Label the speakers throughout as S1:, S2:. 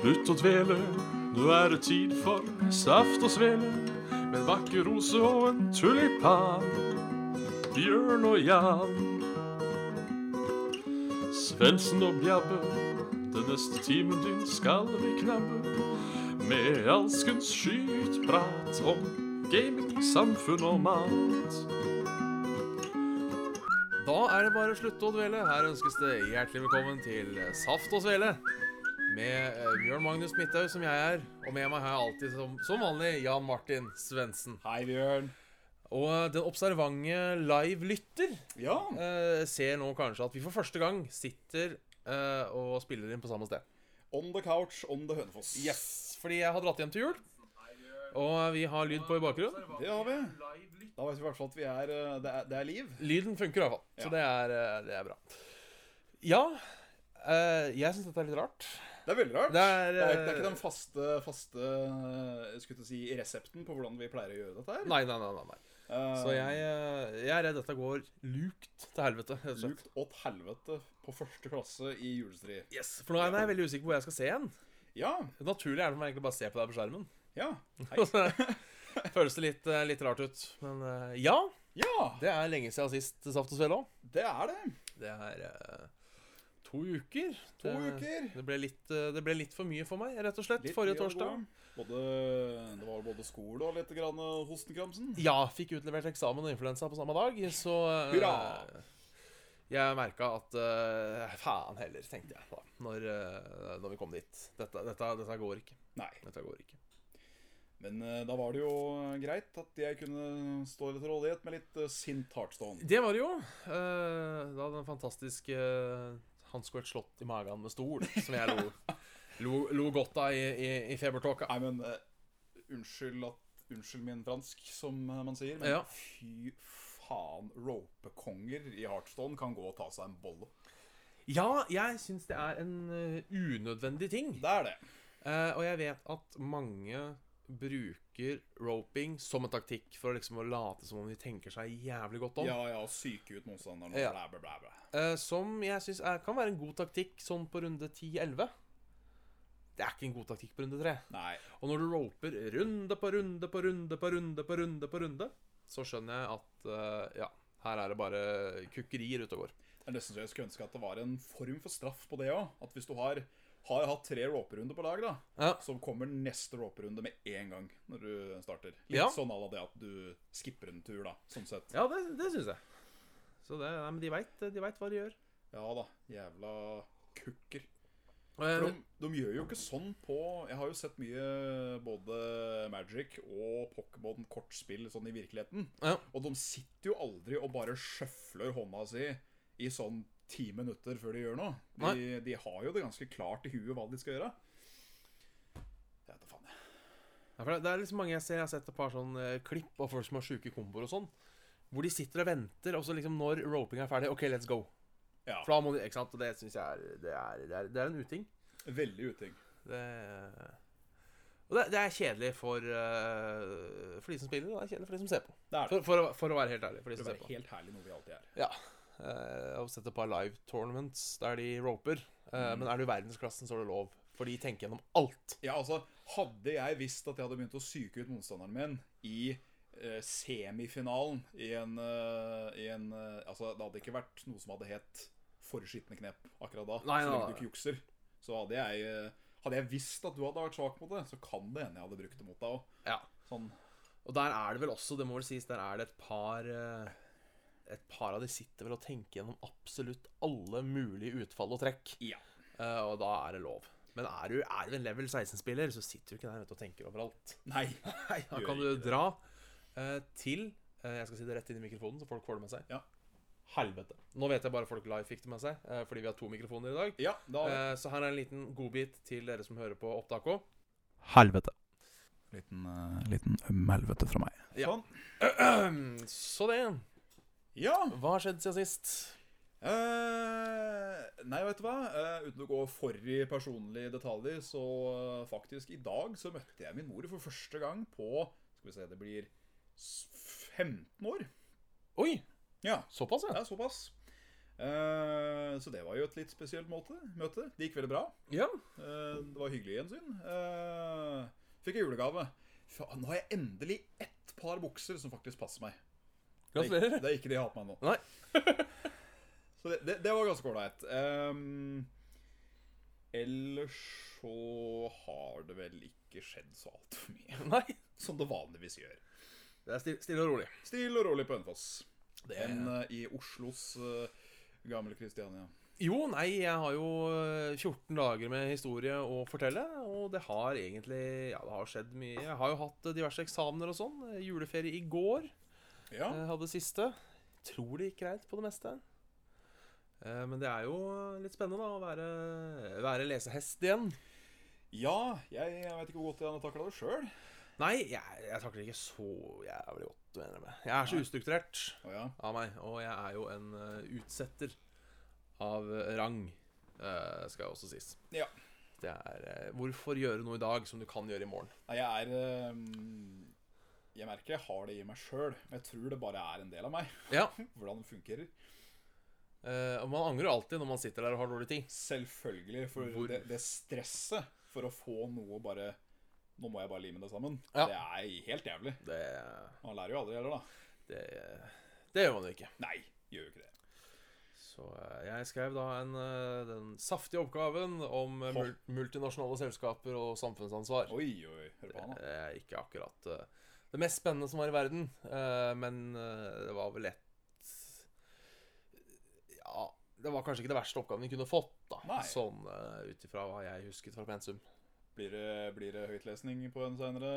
S1: Slutt å dvele, nå er det tid for saft og svele. Med en vakker rose og en tulipan. Bjørn og Jan. Svendsen og Bjabbe, den neste timen din skal vi knabbe. Med alskens skytprat om gaming, samfunn og mat.
S2: Da er det bare å slutte å dvele. Her ønskes det hjertelig velkommen til Saft og Svele. Med eh, Bjørn Magnus Midthaug, som jeg er, og med meg har jeg alltid som, som vanlig Jan Martin Svendsen.
S3: Hei, Bjørn.
S2: Og eh, den observante live-lytter
S3: Ja.
S2: eh, ser nå kanskje at vi for første gang sitter eh, og spiller inn på samme sted.
S3: On the couch, on the Hønefoss.
S2: Yes, Fordi jeg har dratt hjem til jul, og vi har lyd på i bakgrunnen.
S3: Det har vi. Da vet vi i hvert fall at vi er eh, Det er, det er liv.
S2: Lyden funker i hvert fall, så
S3: Ja.
S2: det er, eh, det er bra. Ja, eh, jeg syns dette er litt rart.
S3: Det er veldig rart.
S2: Det er,
S3: det er, det er
S2: eh,
S3: ikke den faste, faste eh, skulle til å si, resepten på hvordan vi pleier å gjøre dette her.
S2: Nei, nei, nei. nei, nei.
S3: Eh,
S2: Så jeg, eh, jeg er redd dette går lukt til helvete. rett og slett.
S3: Lukt åt helvete på første klasse i julestri.
S2: Yes, For nå er jeg veldig usikker på hvor jeg skal se en.
S3: Ja.
S2: Naturlig er det for meg egentlig bare å se på deg på skjermen.
S3: Ja.
S2: Og så Føles det litt, eh, litt rart ut. Men eh, ja,
S3: Ja,
S2: det er lenge siden sist Saft og Svele òg.
S3: det er det.
S2: Det er eh, to uker.
S3: To
S2: det,
S3: uker.
S2: Det ble, litt, eh, det ble litt for mye for meg, rett og slett,
S3: Litt
S2: forrige
S3: mye å
S2: torsdag.
S3: gå. Både, det var både skole og litt grann eh, hostenkramsen.
S2: Ja, fikk utlevert eksamen og influensa på samme dag, så eh,
S3: Hurra!
S2: Jeg merka at eh, Faen heller, tenkte jeg da når, eh, når vi kom dit. Dette, dette, dette går ikke.
S3: Nei.
S2: Dette går ikke.
S3: Men eh, da var det jo eh, greit at jeg kunne stå litt til rådighet med litt eh, sint Heartstone.
S2: Det var det jo. eh, da den fantastiske eh, Han skulle vært slått i magen med stol, som jeg lo, lo, lo godt av i, i, i febertåka.
S3: Nei, men eh, unnskyld at Unnskyld min fransk, som eh, man sier. Men
S2: Ja.
S3: fy faen, ropekonger i Heartstone kan gå og ta seg en bolle.
S2: Ja, jeg syns det er en eh, unødvendig ting.
S3: Det er det.
S2: Eh, og jeg vet at mange bruker roping som en taktikk for å liksom å late som om de tenker seg jævlig godt om.
S3: Ja, ja, syke ut motstanderen.
S2: Sånn. Ja.
S3: Ja. Blæ, blæ, blæ, blæ.
S2: Eh, som jeg syns kan være en god taktikk sånn på runde 10-11. Det er ikke en god taktikk på runde 3.
S3: Nei.
S2: Og når du roper runde på runde på runde på runde på runde på runde, så skjønner jeg at eh, ja, her er det bare kukkerier ute og går.
S3: Det er nesten så jeg skulle ønske at det var en form for straff på det òg. At hvis du har, har hatt tre roperunder på lag, da,
S2: Ja.
S3: så kommer neste roperunde med en gang når du starter. Litt
S2: Ja.
S3: sånn à la det at du skipper en tur, da, sånn sett.
S2: Ja, det, det syns jeg. Så det, nei, men de veit de vet hva de gjør.
S3: Ja da, jævla kukker.
S2: Og jeg-
S3: For de, de gjør jo ikke sånn på Jeg har jo sett mye både Magic og Pokémon kortspill sånn i virkeligheten.
S2: ja.
S3: Og de sitter jo aldri og bare sjøfler hånda si i sånn ti minutter før de gjør noe. De, de har jo det ganske klart i huet hva de skal gjøre. Jeg vet da faen, jeg.
S2: Ja, for det, det er liksom mange jeg ser Jeg har sett et par sånn eh, klipp av folk som har sjuke komboer og sånn. Hvor de sitter og venter, og så liksom når roping er ferdig OK, let's go.
S3: Ja,
S2: For da må de, ikke sant, og Det syns jeg er det er, det er det er en uting.
S3: Veldig uting.
S2: Det, og det, det er kjedelig for, eh, for de som spiller, og det er kjedelig for de som ser på.
S3: Det er det.
S2: For, for, å- for å være helt ærlig. For de
S3: Det
S2: som ser
S3: er
S2: på.
S3: helt herlig noe vi alltid er.
S2: Ja. eh, Jeg har sett et par live tournaments der de roper. eh, Men er du i verdensklassen, så er det lov. For de tenker gjennom alt.
S3: Ja, altså, hadde jeg visst at jeg hadde begynt å syke ut motstanderen min i eh, semifinalen i en, eh, i en eh, Altså, det hadde ikke vært noe som hadde hett forskitne knep akkurat da.
S2: Nei, nei,
S3: så lenge
S2: nei.
S3: du ikke jukser. Så hadde jeg eh, Hadde jeg visst at du hadde vært svak mot det, så kan det hende jeg hadde brukt det mot deg òg.
S2: Ja.
S3: Sånn.
S2: Og der er det vel også, det må vel sies, der er det et par eh, Et par av de sitter vel og tenker gjennom absolutt alle mulige utfall og trekk.
S3: Ja.
S2: Eh, og da er det lov. Men er du, er du en level 16-spiller, så sitter du ikke der vet, du, og tenker overalt.
S3: Nei.
S2: Nei, Da
S3: Gjør
S2: kan du
S3: ikke
S2: dra eh, til eh, Jeg skal si det rett inn i mikrofonen, så folk får det med seg.
S3: Ja.
S2: Helvete. Nå vet jeg bare folk live fikk det med seg, eh, fordi vi har to mikrofoner i dag.
S3: Ja, da
S2: Eh, så her er en liten godbit til dere som hører på opptaket. Helvete.
S3: Liten, eh, liten øm helvete fra meg.
S2: Ja.
S3: Sånn.
S2: Så det.
S3: Ja.
S2: Hva har skjedd siden sist?
S3: Eh, nei, vet du hva? Eh, uten å gå for i personlige detaljer, så eh, faktisk i dag så møtte jeg min mor for første gang på Skal vi se, det blir s- 15 år.
S2: Oi,
S3: Ja,
S2: såpass, ja.
S3: det er såpass. Eh, så det var jo et litt spesielt måte, møte. Det gikk veldig bra.
S2: Ja.
S3: Eh, det var hyggelig gjensyn. Eh, fikk jeg julegave. Faen, nå har jeg endelig ett par bukser som faktisk passer meg. Det er, ikke,
S2: Gratulerer.
S3: det er ikke det jeg har på meg nå.
S2: Nei.
S3: så det, det, det var ganske ålreit. Ehm, ellers så har det vel ikke skjedd så altfor mye.
S2: Nei.
S3: Som det vanligvis gjør.
S2: Det er still, stille og rolig.
S3: Stille og rolig på Hønefoss.
S2: Det er-
S3: Enn eh, i Oslos eh, gamle Kristiania.
S2: Jo, nei, jeg har jo eh, 14 dager med historie å fortelle, og det har egentlig Ja, det har skjedd mye. Jeg har jo hatt eh, diverse eksamener og sånn. Eh, Juleferie i går.
S3: Ja.
S2: Jeg hadde siste. Tror det gikk greit på det meste. Eh, Men det er jo litt spennende, da, å være, være lesehest igjen.
S3: ja, jeg, jeg vet ikke hvor godt jeg hadde takla det sjøl.
S2: Nei, jeg, jeg takler ikke så jævlig godt, mener jeg. Jeg er så ustrukturert
S3: Å ja.
S2: av meg, og jeg er jo en eh, utsetter av eh, rang, eh, skal jeg også sies.
S3: Ja.
S2: Det er eh, Hvorfor gjøre noe i dag som du kan gjøre i morgen?
S3: Nei, jeg er ehm, Jeg merker jeg har det i meg sjøl, men jeg tror det bare er en del av meg.
S2: Ja.
S3: Hvordan det fungerer.
S2: eh, og man angrer alltid når man sitter der og har dårlig tid.
S3: Selvfølgelig, for
S2: Hvor-
S3: det, det stresset for å få noe å bare Nå må jeg bare lime det sammen.
S2: Ja.
S3: Det er helt jævlig.
S2: Det,
S3: Man lærer jo aldri heller, da.
S2: det, det gjør man jo ikke.
S3: Nei, gjør jo ikke det.
S2: Så eh, jeg skrev da en, eh, den saftige oppgaven om eh, mul multinasjonale selskaper og samfunnsansvar.
S3: Oi, oi, hør på han, da.
S2: Det er ikke akkurat eh, det mest spennende som var i verden, eh, men eh, det var vel et Ja, det var kanskje ikke det verste oppgaven vi kunne fått, da.
S3: Nei.
S2: Sånn uh, ut ifra hva jeg husket fra pensum.
S3: Blir det, blir det høytlesning på en seinere?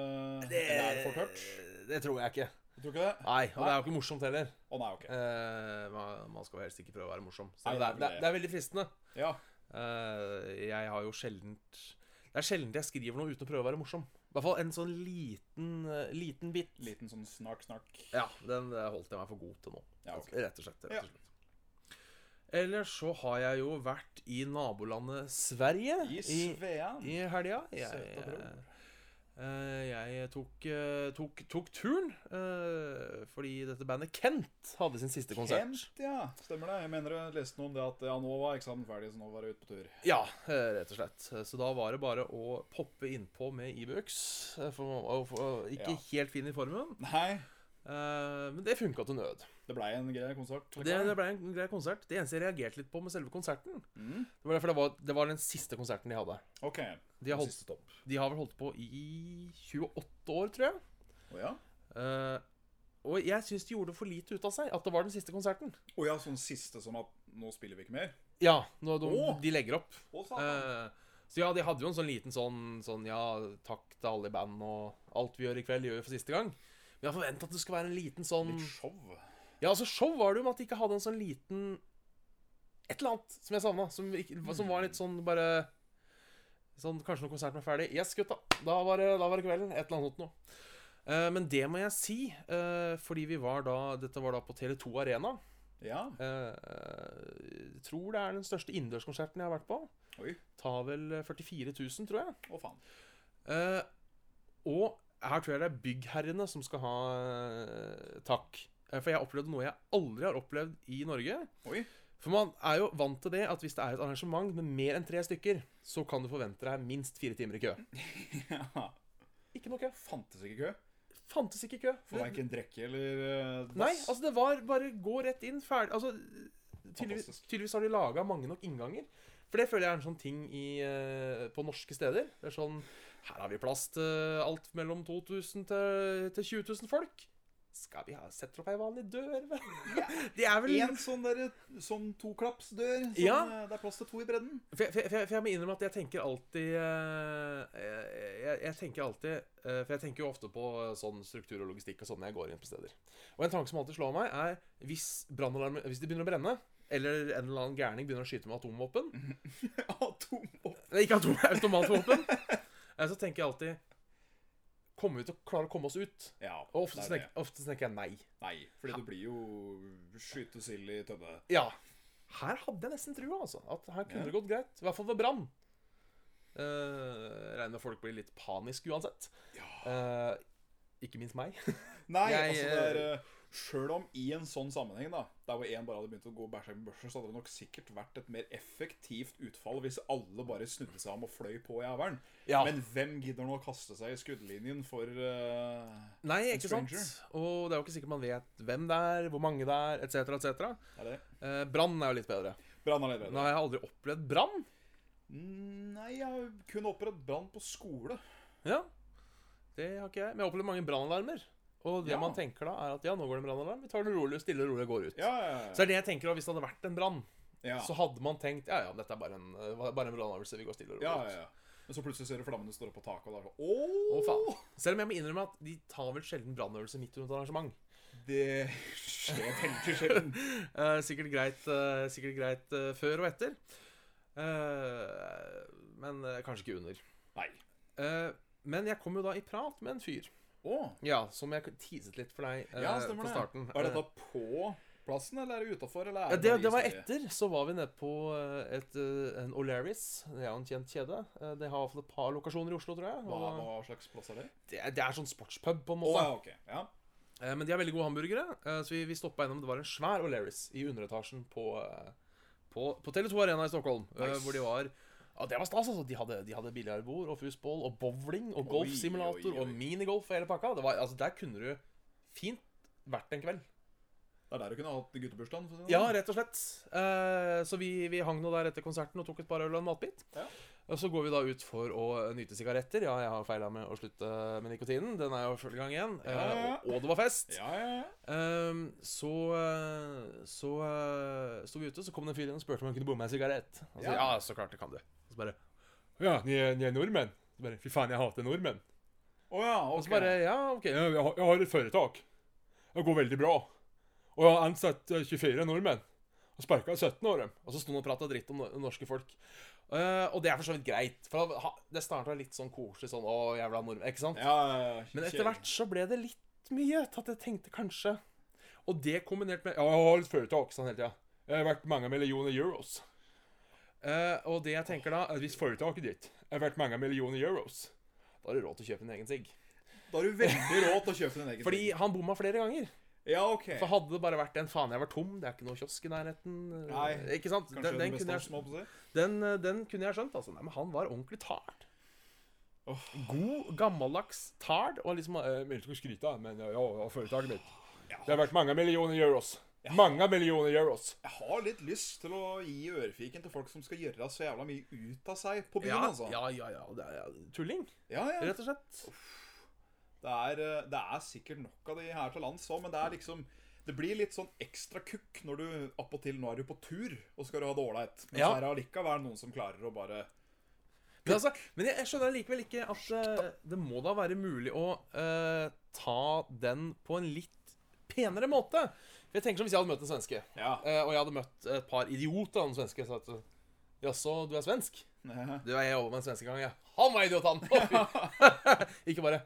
S2: Det,
S3: Eller er det for tørt?
S2: det tror jeg ikke.
S3: Jeg tror ikke det.
S2: Nei, og det er jo ikke morsomt heller.
S3: Å nei, ok.
S2: Eh, man, man skal jo helst ikke prøve å være morsom. Så
S3: Nei,
S2: det, er, det, er,
S3: det er vel det.
S2: det er veldig fristende.
S3: Ja.
S2: Eh, jeg har jo sjeldent Det er sjelden jeg skriver noe uten å prøve å være morsom. I hvert fall en sånn liten, eh, liten bit.
S3: Liten sånn snark-snark.
S2: Ja, den eh, holdt jeg meg for god til nå.
S3: Ja, ok.
S2: Altså, Rett og slett. rett
S3: Ja.
S2: og slett. Ellers så har jeg jo vært i nabolandet Sverige
S3: I
S2: i,
S3: Svean.
S2: i helga.
S3: Søta
S2: Jeg,
S3: bror.
S2: eh, jeg tok, eh, tok, tok turen eh, fordi dette bandet Kent hadde sin siste konsert.
S3: Kent, ja. Stemmer det. Jeg mener jeg leste noe om det at ja, nå var eksamen ferdig, så nå var det ut på tur.
S2: Ja, eh, rett og slett. Så da var det bare å poppe innpå med Ibux. eh, For man var jo for- ikke
S3: Ja.
S2: helt fin i formen.
S3: Nei,
S2: Eh, Men det funka til nød.
S3: det blei en grei konsert.
S2: Det, det ble en grei konsert. Det eneste jeg reagerte litt på med selve konserten,
S3: Mm.
S2: det var derfor det var, det var den siste konserten de hadde.
S3: liksom. Ok.
S2: De har, holdt,
S3: Siste stopp.
S2: de har vel holdt på i 28 år, tror jeg.
S3: Å ja?
S2: Eh, og jeg syns de gjorde for lite ut av seg at det var den siste konserten.
S3: Å ja, sånn siste som at nå spiller vi ikke mer?
S2: Ja, når de,
S3: Åh!
S2: de legger opp.
S3: Å,
S2: Eh, så ja, de hadde jo en sånn liten sånn, sånn Ja, takk til alle i band, og alt vi gjør i kveld, gjør vi for siste gang. Men jeg forventa at det skulle være en liten sånn
S3: Litt show.
S2: Ja, altså, show var det jo med at de ikke hadde en sånn liten Et eller annet som jeg savna, som, ikke- som var litt sånn bare Sånn kanskje når konserten var ferdig. Yes, gutta. Da var det, da var det kvelden. Et eller annet sånt noe. Eh, men det må jeg si, eh, fordi vi var da Dette var da på Tele2 Arena.
S3: Ja.
S2: Eh, eh, tror det er den største innendørskonserten jeg har vært på
S3: Oi.
S2: tar vel eh, 44 000, tror jeg.
S3: Å, faen.
S2: Eh, og her tror jeg det er byggherrene som skal ha eh, takk. Eh, For jeg opplevde noe jeg aldri har opplevd i Norge.
S3: Oi.
S2: For man er jo vant til det at hvis det er et arrangement med mer enn tre stykker, så kan du forvente deg minst fire timer i kø.
S3: Ja.
S2: Ikke noe kø.
S3: Fantes ikke kø.
S2: Fantes ikke kø.
S3: For verken drikke eller eh,
S2: Nei,
S3: dass.
S2: altså det var bare gå rett inn, ferdig Altså tydeligvis,
S3: Fantastisk.
S2: tydeligvis har de laga mange nok innganger. For det føler jeg er en sånn ting i, eh, på norske steder. Det er sånn Her har vi plass til alt mellom 2000 til, til 20 000 folk. Skal vi ha setter opp ei vanlig dør, vel? Det er vel
S3: En sånn derre sånn toklappsdør. Sånn,
S2: Ja.
S3: eh, Det er plass til to i bredden.
S2: For jeg, for, jeg, for jeg- for jeg må innrømme at jeg tenker alltid eh, jeg, jeg, jeg tenker alltid eh, For jeg tenker jo ofte på eh, sånn struktur og logistikk og sånn når jeg går inn på steder. Og en tanke som alltid slår meg, er hvis brannalarmen Hvis det begynner å brenne, eller en eller annen gærning begynner å skyte med atomvåpen
S3: Mhm. Atomvåpen.
S2: Nei, Ikke atom, automatvåpen. eh, Så tenker jeg alltid Kommer vi til å klare å komme oss ut?
S3: Ja.
S2: Og ofte
S3: det er
S2: tenker, ofte tenker jeg nei.
S3: det. Nei, fordi du blir jo skytes ild i tønne.
S2: Ja. Her hadde jeg nesten trua, altså. At her kunne
S3: Ja.
S2: det gått greit. I hvert fall ved brann. Eh, regner med folk blir litt panisk uansett.
S3: Ja.
S2: Eh, ikke minst meg.
S3: Nei,
S2: Jeg,
S3: altså det er eh, Sjøl om i en sånn sammenheng, da der hvor én bare hadde begynt å gå bæsja med børser, så hadde det nok sikkert vært et mer effektivt utfall hvis alle bare snudde seg om og fløy på jævelen.
S2: Ja.
S3: Men hvem gidder nå å kaste seg i skuddlinjen for eh,
S2: Nei,
S3: En
S2: ikke sant? Og det er jo ikke sikkert man vet hvem det er, hvor mange det er, etc., etc.
S3: Er det det?
S2: Eh, brann er jo litt bedre.
S3: Brann
S2: Nå
S3: allerede?
S2: har jeg aldri opplevd brann.
S3: Nei, jeg har kun opprett brann på skole.
S2: Ja. Det har ikke jeg. Men jeg har opplevd mange brannalarmer. Og det
S3: Ja.
S2: man tenker da, er at ja, nå går det en brannalarm. Vi tar det rolig, stille og rolig og går ut.
S3: Ja, ja, ja.
S2: Så det er det jeg tenker da, hvis det hadde vært en brann,
S3: ja.
S2: så hadde man tenkt ja, ja, dette er bare en, eh, bare en brannøvelse. Vi går stille og rolig
S3: ja,
S2: ut.
S3: ja, ja. Men så plutselig ser du flammene står opp på taket, og da er det
S2: Å,
S3: sånn Åh!
S2: faen. Selv om jeg må innrømme at de tar vel sjelden brannøvelse midt under et arrangement.
S3: Det skjer veldig sjelden.
S2: Eh, sikkert greit, eh, sikkert greit eh, før og etter. Eh, men eh, kanskje ikke under.
S3: Nei.
S2: Eh, men jeg kom jo da i prat med en fyr.
S3: Å!
S2: Ja, Som jeg teaset litt for deg eh,
S3: Ja, stemmer
S2: på
S3: det.
S2: starten.
S3: Er
S2: Eh,
S3: dette på plassen, eller er det utafor?
S2: ja, det, det var etter. Så var vi nede på eh, et, eh, en O'Learys. Det er jo en kjent kjede. Eh, Det har i hvert fall et par lokasjoner i Oslo, tror jeg.
S3: Hva,
S2: Og
S3: hva slags plass er det?
S2: det, er- det er sånn sportspub, på en
S3: Å,
S2: måte.
S3: ja, ok. Ja.
S2: Eh, Men de har veldig gode hamburgere, eh, så vi, vi stoppa gjennom. Det var en svær O'Learys i underetasjen på, eh, på, på Tele2 Arena i Stockholm. eh,
S3: Nice.
S2: Hvor de var ja, Det var stas, altså. De hadde, de hadde billiardbord og foosball og bowling og
S3: Oi,
S2: golfsimulator
S3: oi, oi.
S2: og minigolf og hele pakka. Det var, altså, der kunne du fint vært en kveld.
S3: Det er der du kunne hatt guttebursdagen? for å si det
S2: Ja,
S3: sånn.
S2: rett og slett. Eh, Så vi, vi hang nå der etter konserten og tok et par øl og en matbit.
S3: Ja.
S2: Og så går vi da ut for å nyte sigaretter. Ja, jeg har feila med å slutte med nikotinen. Den er jo i full gang igjen. Eh,
S3: Ja, ja, ja.
S2: Og, og det var fest.
S3: Ja, ja, ja.
S2: Ehm, så eh, så eh, sto vi ute, så kom det en fyr inn og spurte om han kunne bo med en sigarett. Og så, ja.
S3: Ja.
S2: så klart det kan du. Og så bare Ja, ni er, ni er nordmenn? Så bare, Fy faen, jeg hater nordmenn.
S3: Å ja,
S2: Og
S3: ok.
S2: så bare Ja, OK, jeg, jeg har- jeg har et foretak. Det går veldig bra. Og jeg har ansatt eh, 24 nordmenn. Og sparka 17 av dem. Og så sto han og prata dritt om no- norske folk. Eh, og det er for så vidt greit. For han- ha- det starta litt sånn koselig sånn Å, jævla nordmenn. Ikke sant?
S3: Ja, ja, ja.
S2: Men etter
S3: Kjedelig.
S2: hvert så ble det litt mye til at jeg tenkte kanskje Og det kombinert med Ja, jeg har et foretak, sånn hele tida. Jeg har vært mange millioner euros. Eh, og det jeg tenker da, er hvis foretaket ditt er verdt mange millioner euros, da har du råd til å kjøpe en egen sigg.
S3: Da har du veldig råd til å kjøpe din egen
S2: Fordi
S3: ting.
S2: han bomma flere ganger.
S3: Ja, ok.
S2: For hadde det bare vært en faen, jeg var tom, det er ikke noe kiosk i nærheten
S3: Nei,
S2: eh, Ikke sant?
S3: Kanskje
S2: Den,
S3: det
S2: den,
S3: beste
S2: kunne
S3: av oss, må
S2: jeg,
S3: jeg på å si.
S2: den, eh, den kunne jeg skjønt, altså. Nei, men han var ordentlig tard.
S3: Åh.
S2: God, gammeldags tard. Og liksom eh, Jeg vil ikke skryte, men ja, ja, foretaket mitt
S3: Ja.
S2: Det har vært mange millioner euros. Mange millioner euros.
S3: Jeg har litt lyst til å gi ørefiken til folk som skal gjøre så jævla mye ut av seg på byen,
S2: Ja,
S3: altså.
S2: ja, ja, ja, det er, ja. Tulling,
S3: Ja, ja.
S2: rett og slett.
S3: Det, er, eh, det er sikkert nok av de her til lands òg, men det er liksom det blir litt sånn ekstra kukk når du appåtil nå er du på tur og skal du ha det ålreit. Men
S2: Ja.
S3: så er det allikevel noen som klarer å bare
S2: Men, altså, men jeg, jeg skjønner likevel ikke at eh, det må da være mulig å eh, ta den på en litt penere måte. For jeg tenker som hvis jeg hadde møtt en svenske,
S3: Ja.
S2: eh, og jeg hadde møtt et par idioter av en svenske, så at Jaså, du er svensk? Du, jeg jobba med en svenske en gang, jeg. Han var idiot, han! Å, fy. ikke bare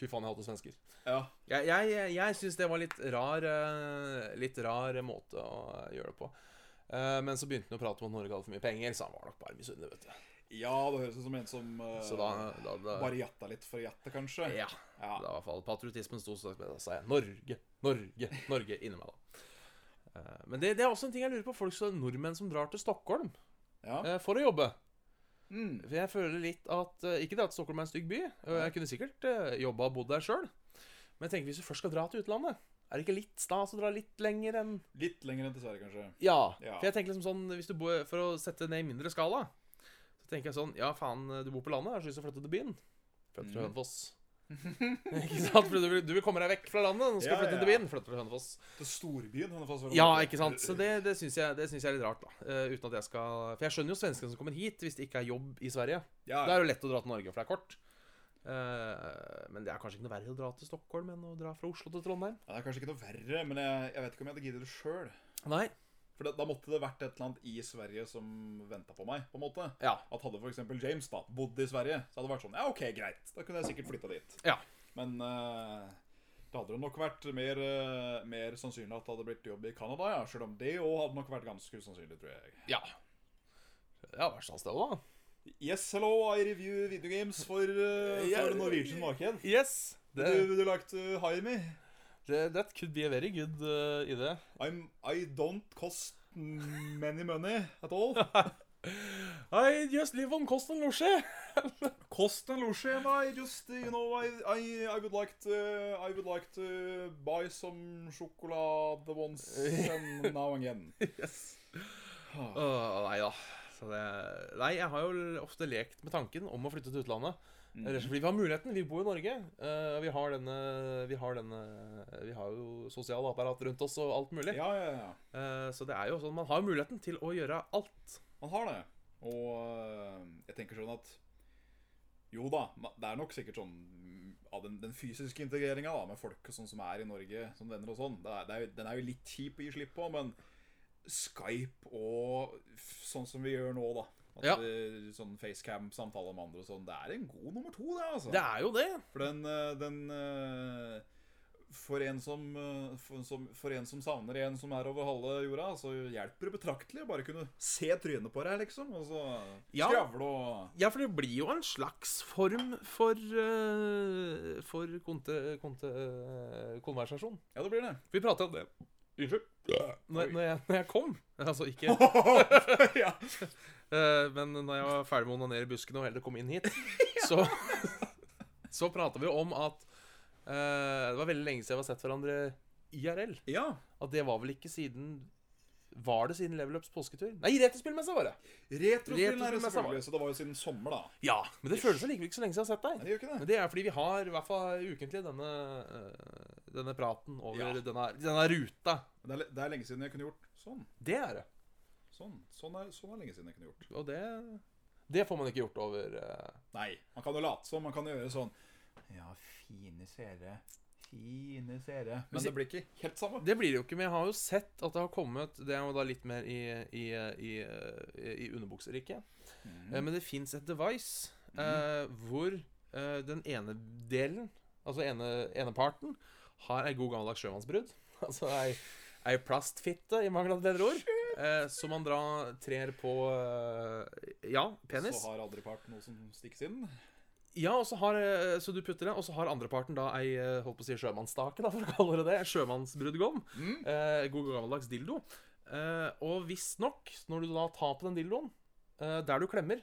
S2: Fy faen, jeg hater svensker.
S3: ja.
S2: Jeg, jeg, jeg syns det var litt rar eh, Litt rar måte å gjøre det på. Eh, Men så begynte han å prate om at Norge hadde for mye penger, så han var nok bare misunnelig, vet du.
S3: Ja, det høres ut som en som eh,
S2: Så da, da, da
S3: bare jatta litt for å jatte, kanskje.
S2: Ja.
S3: Ja.
S2: Da var i hvert fall patriotismen sto sterkt med. Da sa jeg Norge, Norge, Norge inni meg, da. Eh, Men det, det er også en ting jeg lurer på. Folk som nordmenn som drar til Stockholm
S3: Ja.
S2: eh, for å jobbe.
S3: Mm.
S2: For jeg føler litt at eh, Ikke det at Stockholm er en stygg by, og jeg kunne sikkert eh, jobba og bodd der sjøl, men jeg tenker hvis du først skal dra til utlandet, er det ikke litt stas å dra litt lenger enn
S3: Litt lenger enn til Sverige, kanskje.
S2: Ja.
S3: Ja.
S2: For jeg tenker liksom sånn hvis du bor, For å sette det ned i mindre skala, så tenker jeg sånn Ja, faen, du bor på landet, jeg har så lyst til å flytte til byen. Flytte til
S3: Mm.
S2: Hønefoss. ikke sant? For du vil, du vil komme deg vekk fra landet, nå skal
S3: Ja,
S2: du flytte til
S3: ja.
S2: byen. Flytte til Hønefoss.
S3: Til storbyen. Hønefoss, var det
S2: Ja,
S3: vel?
S2: ikke sant? Så det, det syns jeg, det syns jeg er litt rart, da. Eh, uten at jeg skal For jeg skjønner jo svenskene som kommer hit, hvis det ikke er jobb i Sverige.
S3: Ja,
S2: Da er det jo lett å dra til Norge, for det er kort. Eh, men det er kanskje ikke noe verre å dra til Stockholm enn å dra fra Oslo til Trondheim.
S3: Ja, Det er kanskje ikke noe verre, men jeg, jeg vet ikke om jeg hadde giddet det sjøl.
S2: Nei.
S3: For da, da måtte det vært et eller annet i Sverige som venta på meg. på en måte.
S2: Ja.
S3: At Hadde f.eks. James da bodd i Sverige, så hadde det vært sånn Ja, OK, greit. Da kunne jeg sikkert flytta dit.
S2: Ja.
S3: Men eh, det hadde jo nok vært mer, eh, mer sannsynlig at det hadde blitt jobb i Canada, ja. Sjøl om det òg hadde nok vært ganske usannsynlig, tror jeg.
S2: Ja. Ja, hva slags sånn sted, da?
S3: Yes, hello, I review video games for, eh,
S2: Ja.
S3: for Norwegian marked.
S2: Yes.
S3: eh, Would you, would you like to hire me?
S2: Det- That could be a very good uh, idé.
S3: I'm, I don't cost many money at all.
S2: I just live on kost and losje.
S3: Cost and losje, and I just, you know, I, I, I would like to, I would like to buy some chocolate once and now again.
S2: Yes. Åh, nei da. Så det, nei, jeg har jo ofte lekt med tanken om å flytte til utlandet. Rett og slett Fordi vi har muligheten. Vi bor i Norge. eh, vi har denne Vi har denne Vi har jo sosiale apparat rundt oss og alt mulig.
S3: Ja, ja, ja.
S2: Eh, så det er jo sånn man har muligheten til å gjøre alt.
S3: Man har det. Og øh, jeg tenker sånn at Jo da, ma- det er nok sikkert sånn mm, av den, den fysiske integreringa med folk og sånn som er i Norge som venner og sånn, det er, det er, jo- den er jo litt kjip å gi slipp på, men Skype og f- sånn som vi gjør nå, da. At
S2: Ja.
S3: vi- sånn FaceCam-samtale med andre og sånn. Det er en god nummer to, det, altså.
S2: Det er jo det.
S3: For den, eh, den eh, for en, som, eh, for, som, for en som savner en som er over halve jorda, så hjelper det betraktelig å bare kunne se trynet på deg, liksom. Og så
S2: Ja.
S3: skravle og
S2: Ja, for det blir jo en slags form for eh, For konte, konte, eh, konversasjon.
S3: Ja, det blir det.
S2: Vi prata om det Unnskyld. Når, når, jeg, når jeg kom. Altså ikke
S3: ja.
S2: Eh, men når jeg var ferdig med å onanere i buskene og heller kom inn hit, så, så prata vi om at eh, det var veldig lenge siden vi har sett hverandre IRL.
S3: ja.
S2: At det var vel ikke siden Var det siden Level Ups påsketur? Nei, retrospillmessa var det!
S3: Retrospillen er det
S2: Retrospillen er
S3: selvfølgelig, så det var jo siden sommer, da.
S2: Ja, Men det føles allikevel ikke så lenge siden jeg har sett
S3: Nei,
S2: deg.
S3: det gjør
S2: Men
S3: ikke det.
S2: det er fordi vi har i hvert fall ukentlig denne, eh, denne praten over
S3: Ja.
S2: denne, denne ruta.
S3: Men Det er, le- det er lenge siden jeg kunne gjort sånn.
S2: Det er det.
S3: Sånn Sånn er, sånn er lenge siden jeg kunne gjort.
S2: Og det Det får man ikke gjort over eh,
S3: Nei, man kan jo late som. Man kan jo gjøre sånn Ja, fine seere. Fine seere.
S2: Men
S3: Men det blir ikke helt samme.
S2: Det blir det jo ikke, men jeg har jo sett at det har kommet Det er jo da litt mer i, i, i, i underbukseriket.
S3: Mhm.
S2: Eh, Men det fins et device eh, hvor eh, den ene delen, altså ene, ene parten, har ei god gammeldags sjømannsbrudd. Altså ei, ei plastfitte, i mangel av et bedre ord. Eh, som man da trer på eh, Ja, penis.
S3: Så har aldri part noe som stikkes inn.
S2: Ja, og så har eh, Så du putter det, og så har andreparten da ei eh, holdt på å si sjømannsstake, da, for å kalle det det. Sjømannsbrudgom.
S3: Mm.
S2: Eh, god gammeldags dildo. Eh, og visstnok, når du da tar på den dildoen, eh, der du klemmer,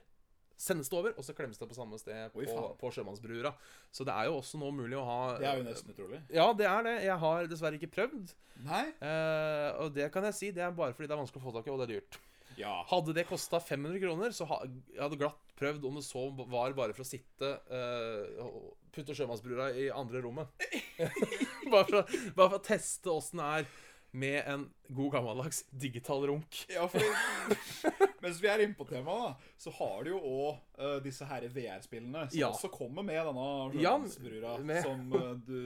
S2: sendes det over, og så klemmes det på samme sted på,
S3: Oi, faen.
S2: på sjømannsbrura. Så det er jo også nå mulig å ha eh,
S3: Det er jo nesten utrolig.
S2: Ja, det er det. Jeg har dessverre ikke prøvd.
S3: Nei?
S2: Eh, og det kan jeg si, det er bare fordi det er vanskelig å få tak i, og det er dyrt.
S3: Ja.
S2: Hadde det kosta 500 kroner, så ha, jeg hadde glatt prøvd om det så var bare for å sitte eh, og putte sjømannsbrura i andre rommet. bare, for, å- bare for å teste åssen det er med en god gammeldags digital runk.
S3: Ja, fordi, mens vi er inne på temaet, da, så har du jo òg disse her VR-spillene som
S2: Ja.
S3: også kommer med denne
S2: Ja,
S3: sjømannsbrura,
S2: med-
S3: som eh, du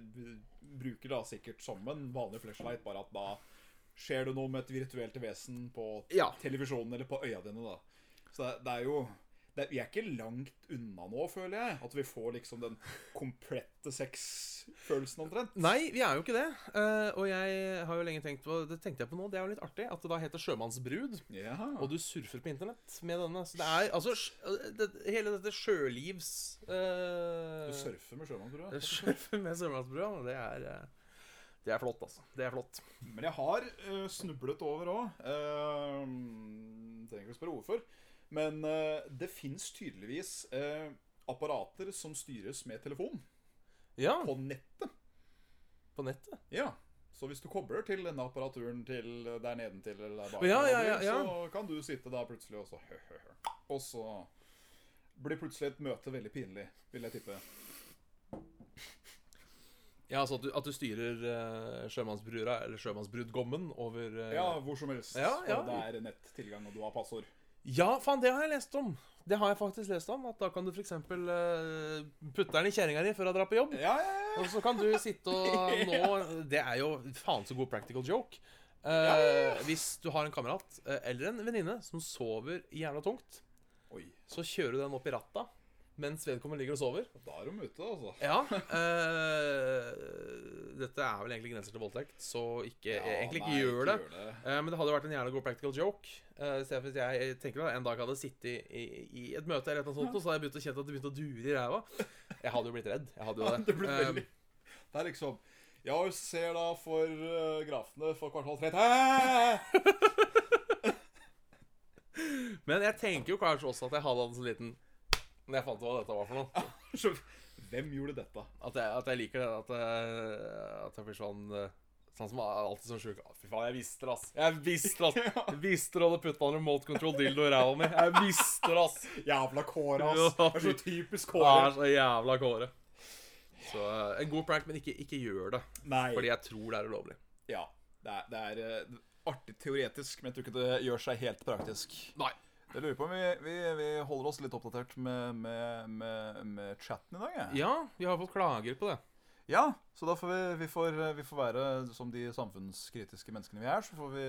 S3: b- bruker da sikkert som en vanlig flashlight, bare at da skjer det noe med et virtuelt vesen på
S2: Ja.
S3: televisjonen eller på øya dine, da. Så det, det er jo det, Vi er ikke langt unna nå, føler jeg, at vi får liksom den komplette sexfølelsen omtrent.
S2: Nei, vi er jo ikke det. Eh, og jeg har jo lenge tenkt på Det tenkte jeg på nå, det er jo litt artig. At det da heter sjømannsbrud.
S3: Ja.
S2: Og du surfer på internett med denne. Så det er altså sj- det, Hele dette sjølivs eh,
S3: Du surfer med sjømann, tror jeg.
S2: Sjøl med sørlandsbrua, det er eh, Det er flott, altså. Det er flott.
S3: Men jeg har eh, snublet over òg. trenger ikke å spørre hvorfor. Men eh, det fins tydeligvis eh, apparater som styres med telefon
S2: Ja,
S3: på nettet.
S2: på nettet.
S3: Ja. Så hvis du kobler til denne apparaturen til eh, der nedentil eller der bak,
S2: Ja, ja,
S3: eller hvor,
S2: ja, ja.
S3: så kan du sitte da plutselig og så hø, hø, hø. Og så blir plutselig et møte veldig pinlig, vil jeg tippe.
S2: Ja, altså at du, at du styrer eh, sjømannsbrura, eller sjømannsbrudgommen, over eh,
S3: Ja, hvor som helst.
S2: Ja, ja.
S3: Og det er nettilgang, og du har passord.
S2: Ja, faen, det har jeg lest om! Det har jeg faktisk lest om. At da kan du f.eks. Uh, putte den i kjerringa di før hun drar på jobb.
S3: Ja, ja, ja.
S2: Og så kan du sitte og nå Det er jo faen så god practical joke. Eh, Hvis du har en kamerat eh, eller en venninne som sover jævla tungt,
S3: Oi.
S2: så kjører du den opp i ratta mens vedkommende ligger og sover.
S3: Da er de ute, altså.
S2: Ja. eh, dette er vel egentlig grenser til voldtekt, så ikke,
S3: Ja,
S2: egentlig ikke
S3: nei,
S2: gjør det.
S3: gjør det.
S2: Eh, men det hadde vært en jævla god practical joke. Uh, I stedet for at jeg tenker da, en dag hadde jeg sittet i, i, i et møte, eller noe sånt, og så hadde jeg begynt å kjenne at det begynte å dure i ræva. Jeg hadde jo blitt redd. Jeg hadde jo det.
S3: Det blir
S2: Eh,
S3: veldig Det er liksom Ja, vi ser da for eh, grafene for kvartal tre. Hæ?
S2: Men jeg tenker jo kanskje også at jeg hadde hatt en sånn liten Når jeg fant ut hva dette var for noe.
S3: Så, Hvem gjorde dette?
S2: At jeg, at jeg liker det. At jeg, at jeg blir sånn eh, Sånn som er alltid sånn sjuk. Fy faen, jeg visste det, ass. Jeg visste det, ass. Jeg visste du hadde putta en remote control dildo i ræva mi. Jeg visste det, ass.
S3: Jævla Kåre, ass. Det er så typisk
S2: Det
S3: Kåre.
S2: er så jævla kåre. Så eh, en god prank, men ikke, ikke gjør det. Fordi
S3: Nei.
S2: jeg tror det er ulovlig.
S3: Ja. Det er, det er eh, artig teoretisk, men jeg tror ikke det gjør seg helt praktisk.
S2: Nei.
S3: Jeg lurer på om vi, vi, vi holder oss litt oppdatert med, med, med, med chatten i dag, jeg.
S2: Ja, vi har fått klager på det.
S3: Ja, så da får vi, vi, får, eh, vi får være som de samfunnskritiske menneskene vi er, så får vi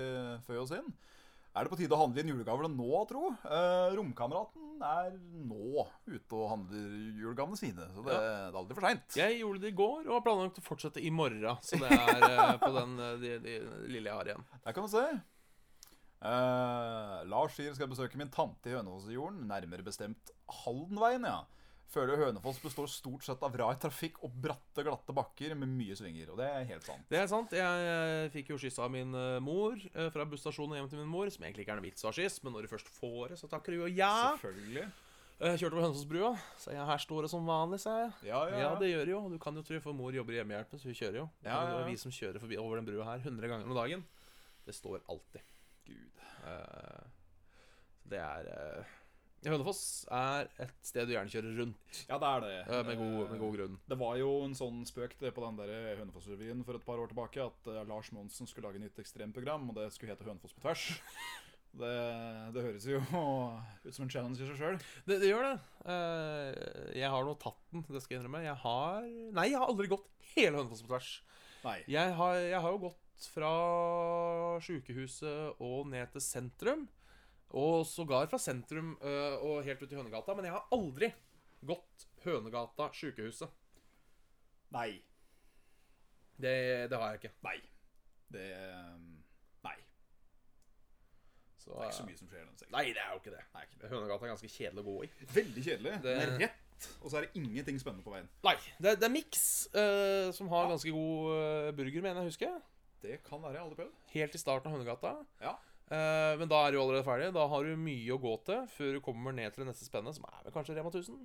S3: føye oss inn. Er det på tide å handle inn julegavene nå, tro? Eh, romkameraten er nå ute og handler julegavene sine, så det, det er aldri for seint.
S2: Jeg gjorde det i går, og har planlagt å fortsette i morgen. Så det er eh, på den eh, de, de, lille jeg har igjen.
S3: Der kan du se. Eh, Lars sier skal besøke min tante i Hønefossfjorden, nærmere bestemt Haldenveien, ja. Føler Hønefoss består stort sett av rar trafikk og bratte, glatte bakker med mye svinger. Og det er helt sant.
S2: Det er sant. Jeg eh, fikk jo skyss av min eh, mor eh, fra busstasjonen og hjem til min mor. Som egentlig ikke er noe vits å ha skyss, men når du først får det, så takker du jo ja.
S3: Ah. Selvfølgelig.
S2: Eh, Kjørte over Hønsåsbrua. Så jeg her står det som vanlig, sa jeg.
S3: Ja, ja,
S2: Ja,
S3: ja.
S2: det gjør det jo. Du kan jo tro, for mor jobber i hjemmehjelpen, så hun kjører jo.
S3: Ja, ja, ja.
S2: Det er vi som kjører forbi over den brua her 100 ganger om dagen. Det står alltid.
S3: Gud.
S2: Eh, så det er eh, Hønefoss er et sted du gjerne kjører rundt,
S3: ja, det er det.
S2: eh, med god, med god grunn.
S3: Det var jo en sånn spøk det på den der Hønefoss-revyen for et par år tilbake at eh, Lars Monsen skulle lage nytt ekstremprogram, og det skulle hete Hønefoss på tvers. Det, det høres jo ut som en challenge i seg sjøl.
S2: Det, det gjør det. Eh, jeg har nå tatt den, det skal jeg innrømme. Jeg har Nei, jeg har aldri gått hele Hønefoss på tvers.
S3: Nei.
S2: Jeg har, jeg har jo gått fra sjukehuset og ned til sentrum. Og sågar fra sentrum øh, og helt ut i Hønegata. Men jeg har aldri gått Hønegata sjukehuset.
S3: Nei.
S2: Det, det har jeg ikke.
S3: Nei. Det eh, Nei.
S2: Så,
S3: Det er ikke så mye som skjer i den sektoren.
S2: Nei, det er jo ikke det.
S3: Nei, ikke det.
S2: Hønegata er ganske kjedelig å gå i.
S3: Veldig kjedelig.
S2: Det-
S3: Den er rett, og så er det ingenting spennende på veien.
S2: Nei, Det, det er Mix øh, som har ganske god øh, burger, mener jeg å huske.
S3: Det kan være jeg har aldri prøvd.
S2: Helt i starten av Hønegata.
S3: Ja.
S2: Eh, men da er du allerede ferdig. Da har du mye å gå til før du kommer ned til det neste spennet, som er vel kanskje Rema 1000.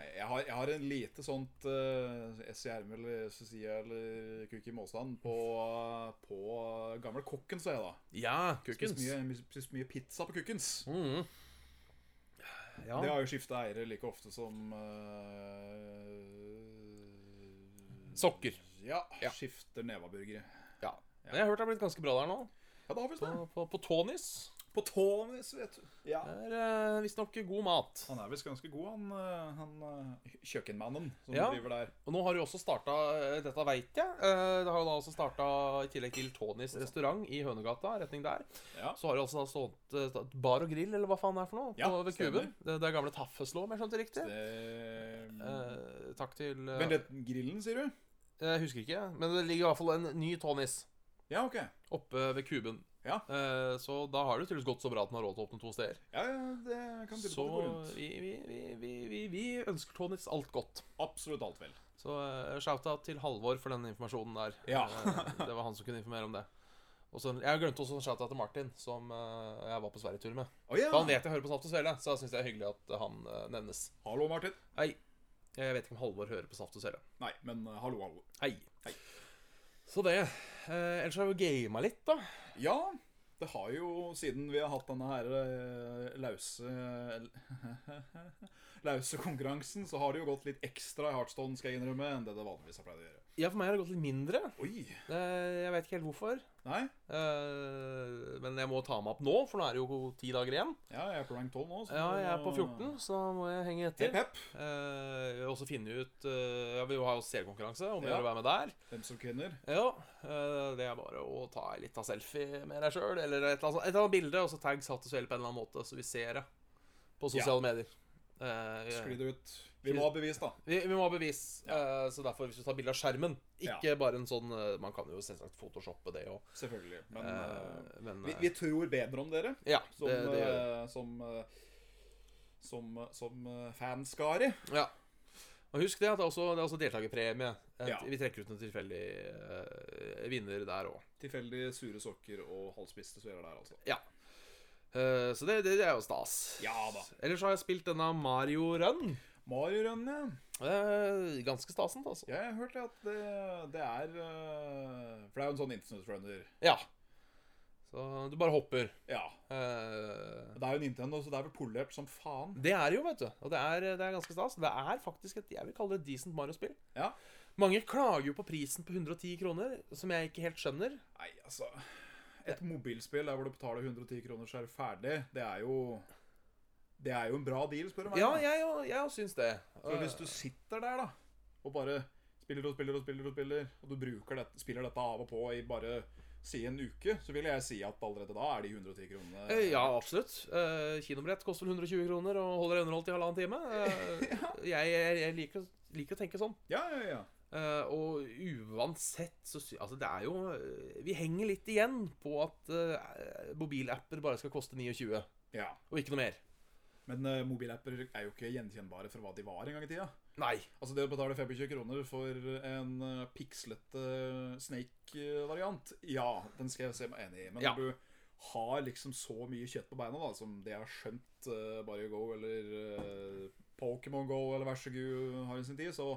S3: Nei, Jeg har, jeg har en lite sånt uh, S i ermet eller Cecilia eller kuk i måsan på, på gamle kokken, sa jeg da.
S2: Ja, kukkens.
S3: Spist mye, spist mye pizza på kukkens.
S2: Mhm. Ja.
S3: Det har jo skifta eiere like ofte som eh,
S2: Sokker.
S3: Ja.
S2: Ja.
S3: Skifter nevaburgere.
S2: ja. Men Jeg har hørt det har blitt ganske bra der nå.
S3: Ja, da har vi
S2: På,
S3: det.
S2: på, på Tonys.
S3: På tånis, vet du. Ja.
S2: Det er eh, visstnok god mat.
S3: Han er visst ganske god, han, eh, han eh, kjøkkenmannen som
S2: Ja.
S3: driver der.
S2: Og nå har du også starta eh, Dette veit jeg. eh, Det har jo da også starta, i tillegg til Tonys restaurant i Hønegata, retning der,
S3: Ja.
S2: så har det altså stått eh, stått bar og grill, eller hva faen det er for noe,
S3: Ja,
S2: på, ved
S3: stemmer.
S2: kuben. Det, det er gamle Taffeslå, om jeg skjønte riktig.
S3: Det...
S2: Eh, takk til eh,
S3: Men det, grillen, sier du?
S2: Jeg husker ikke, men det ligger i hvert fall en ny Tonys
S3: Ja, ok.
S2: oppe ved kuben.
S3: Ja.
S2: Eh, Så da har det jo tydeligvis gått så bra at den har råd til å åpne to steder.
S3: Ja, ja, det kan tyde på
S2: Så
S3: at det går rundt.
S2: vi, vi, vi, vi, vi, vi ønsker Tonys alt godt.
S3: Absolutt alt vel.
S2: Så uh, shout-out til Halvor for den informasjonen der.
S3: Ja.
S2: Eh, det var han som kunne informere om det. Og så, jeg glemte også en shout-out til Martin, som eh, jeg var på sverigetur med.
S3: Å ja!
S2: For Han vet jeg hører på Saft og Svele, så jeg syns det er hyggelig at han eh, nevnes.
S3: Hallo, Martin.
S2: Hei. Jeg vet ikke om Halvor hører på Saft og Svele.
S3: Nei, men eh, hallo, hallo.
S2: Hei.
S3: Hei.
S2: Så det. Eh, ellers har vi gama litt, da.
S3: Ja, det har jo, siden vi har hatt denne her eh, lause Lause konkurransen, så har det jo gått litt ekstra i Heartstone, skal jeg innrømme, enn det det vanligvis har pleid å gjøre.
S2: Ja, for meg har det gått litt mindre.
S3: Oi!
S2: Eh, jeg vet ikke helt hvorfor.
S3: Nei?
S2: Eh, men jeg må ta meg opp nå, for nå er det jo ti dager igjen.
S3: Ja, jeg er på rank 12 nå. så
S2: Ja,
S3: da-
S2: jeg er på 14, så da må jeg henge etter.
S3: Hepp, hepp.
S2: Eh, vi har også funnet ut eh, ja, Vi har jo seerkonkurranse, om vi
S3: Ja.
S2: vil være med der.
S3: Hvem som kvinner.
S2: Ja, eh, Det er bare å ta en liten selfie med deg sjøl, eller et eller, annet, sånt- et eller annet bilde, og så tagg satt og svele på en eller annen måte, så vi ser det på sosiale medier. Eh, vi,
S3: Sklir det ut. Vi må ha bevis, da.
S2: vi, vi må ha bevis, eh, så derfor hvis du tar bilde av skjermen Ikke
S3: Ja.
S2: bare en sånn eh, Man kan jo selvsagt photoshoppe det òg,
S3: Selvfølgelig. Men eh,
S2: men
S3: vi,
S2: eh,
S3: vi tror bedre om dere
S2: Ja,
S3: som,
S2: det, det gjør vi.
S3: eh, som, eh, som, eh, som eh, fanskare.
S2: Ja. Og husk det at det er også, det er også deltakerpremie. Et-
S3: Ja.
S2: Vi trekker ut en tilfeldig eh, vinner der òg.
S3: Tilfeldig sure sokker og halvspiste sveler der, altså.
S2: Eh, så det, det, det er jo stas.
S3: Ja da.
S2: Ellers har jeg spilt denne Mario Run.
S3: Mario Run, ja.
S2: Eh, ganske stasent, altså.
S3: Jeg har hørt at det, det er eh, For det er jo en sånn Internet Runner.
S2: Ja. Så du bare hopper.
S3: Ja.
S2: Eh,
S3: Det er jo Nintendo, så det er vel polert som faen.
S2: det er det jo, vet du. Og det er, det er ganske stas. Det er faktisk et jeg vil kalle det et decent Mario-spill.
S3: Ja.
S2: Mange klager jo på prisen på 110 kroner, som jeg ikke helt skjønner.
S3: Nei, altså Et mobilspill der hvor du betaler 110 kroner, så er du ferdig, det er jo Det er jo en bra deal, spør du meg.
S2: Ja,
S3: da.
S2: jeg òg- jeg òg syns det.
S3: Så hvis du sitter der, da, og bare spiller og spiller og spiller, og spiller, og du bruker dette, spiller dette av og på i bare si en uke, så vil jeg si at allerede da er de 110 kronene
S2: Eh, Ja, absolutt. Eh, Kinobrett koster vel 120 kroner og holder deg underholdt i halvannen time. Eh, Jeg, jeg, jeg liker, å- liker å tenke sånn.
S3: Ja, ja, ja.
S2: Eh, og uansett så sy Altså, det er jo eh, Vi henger litt igjen på at eh, mobilapper bare skal koste 29, og
S3: ja.
S2: ikke noe mer.
S3: Men eh, mobilapper er jo ikke gjenkjennbare for hva de var en gang i tida.
S2: Nei.
S3: Altså Det å betale 25 kroner for en eh, pikslete eh, Snake-variant Ja, den skal jeg se meg enig i. Men
S2: Ja.
S3: når du har liksom så mye kjøtt på beina da som det jeg har skjønt uh, Bare Go eller eh, Pokémon Go eller vær så god har i sin tid, så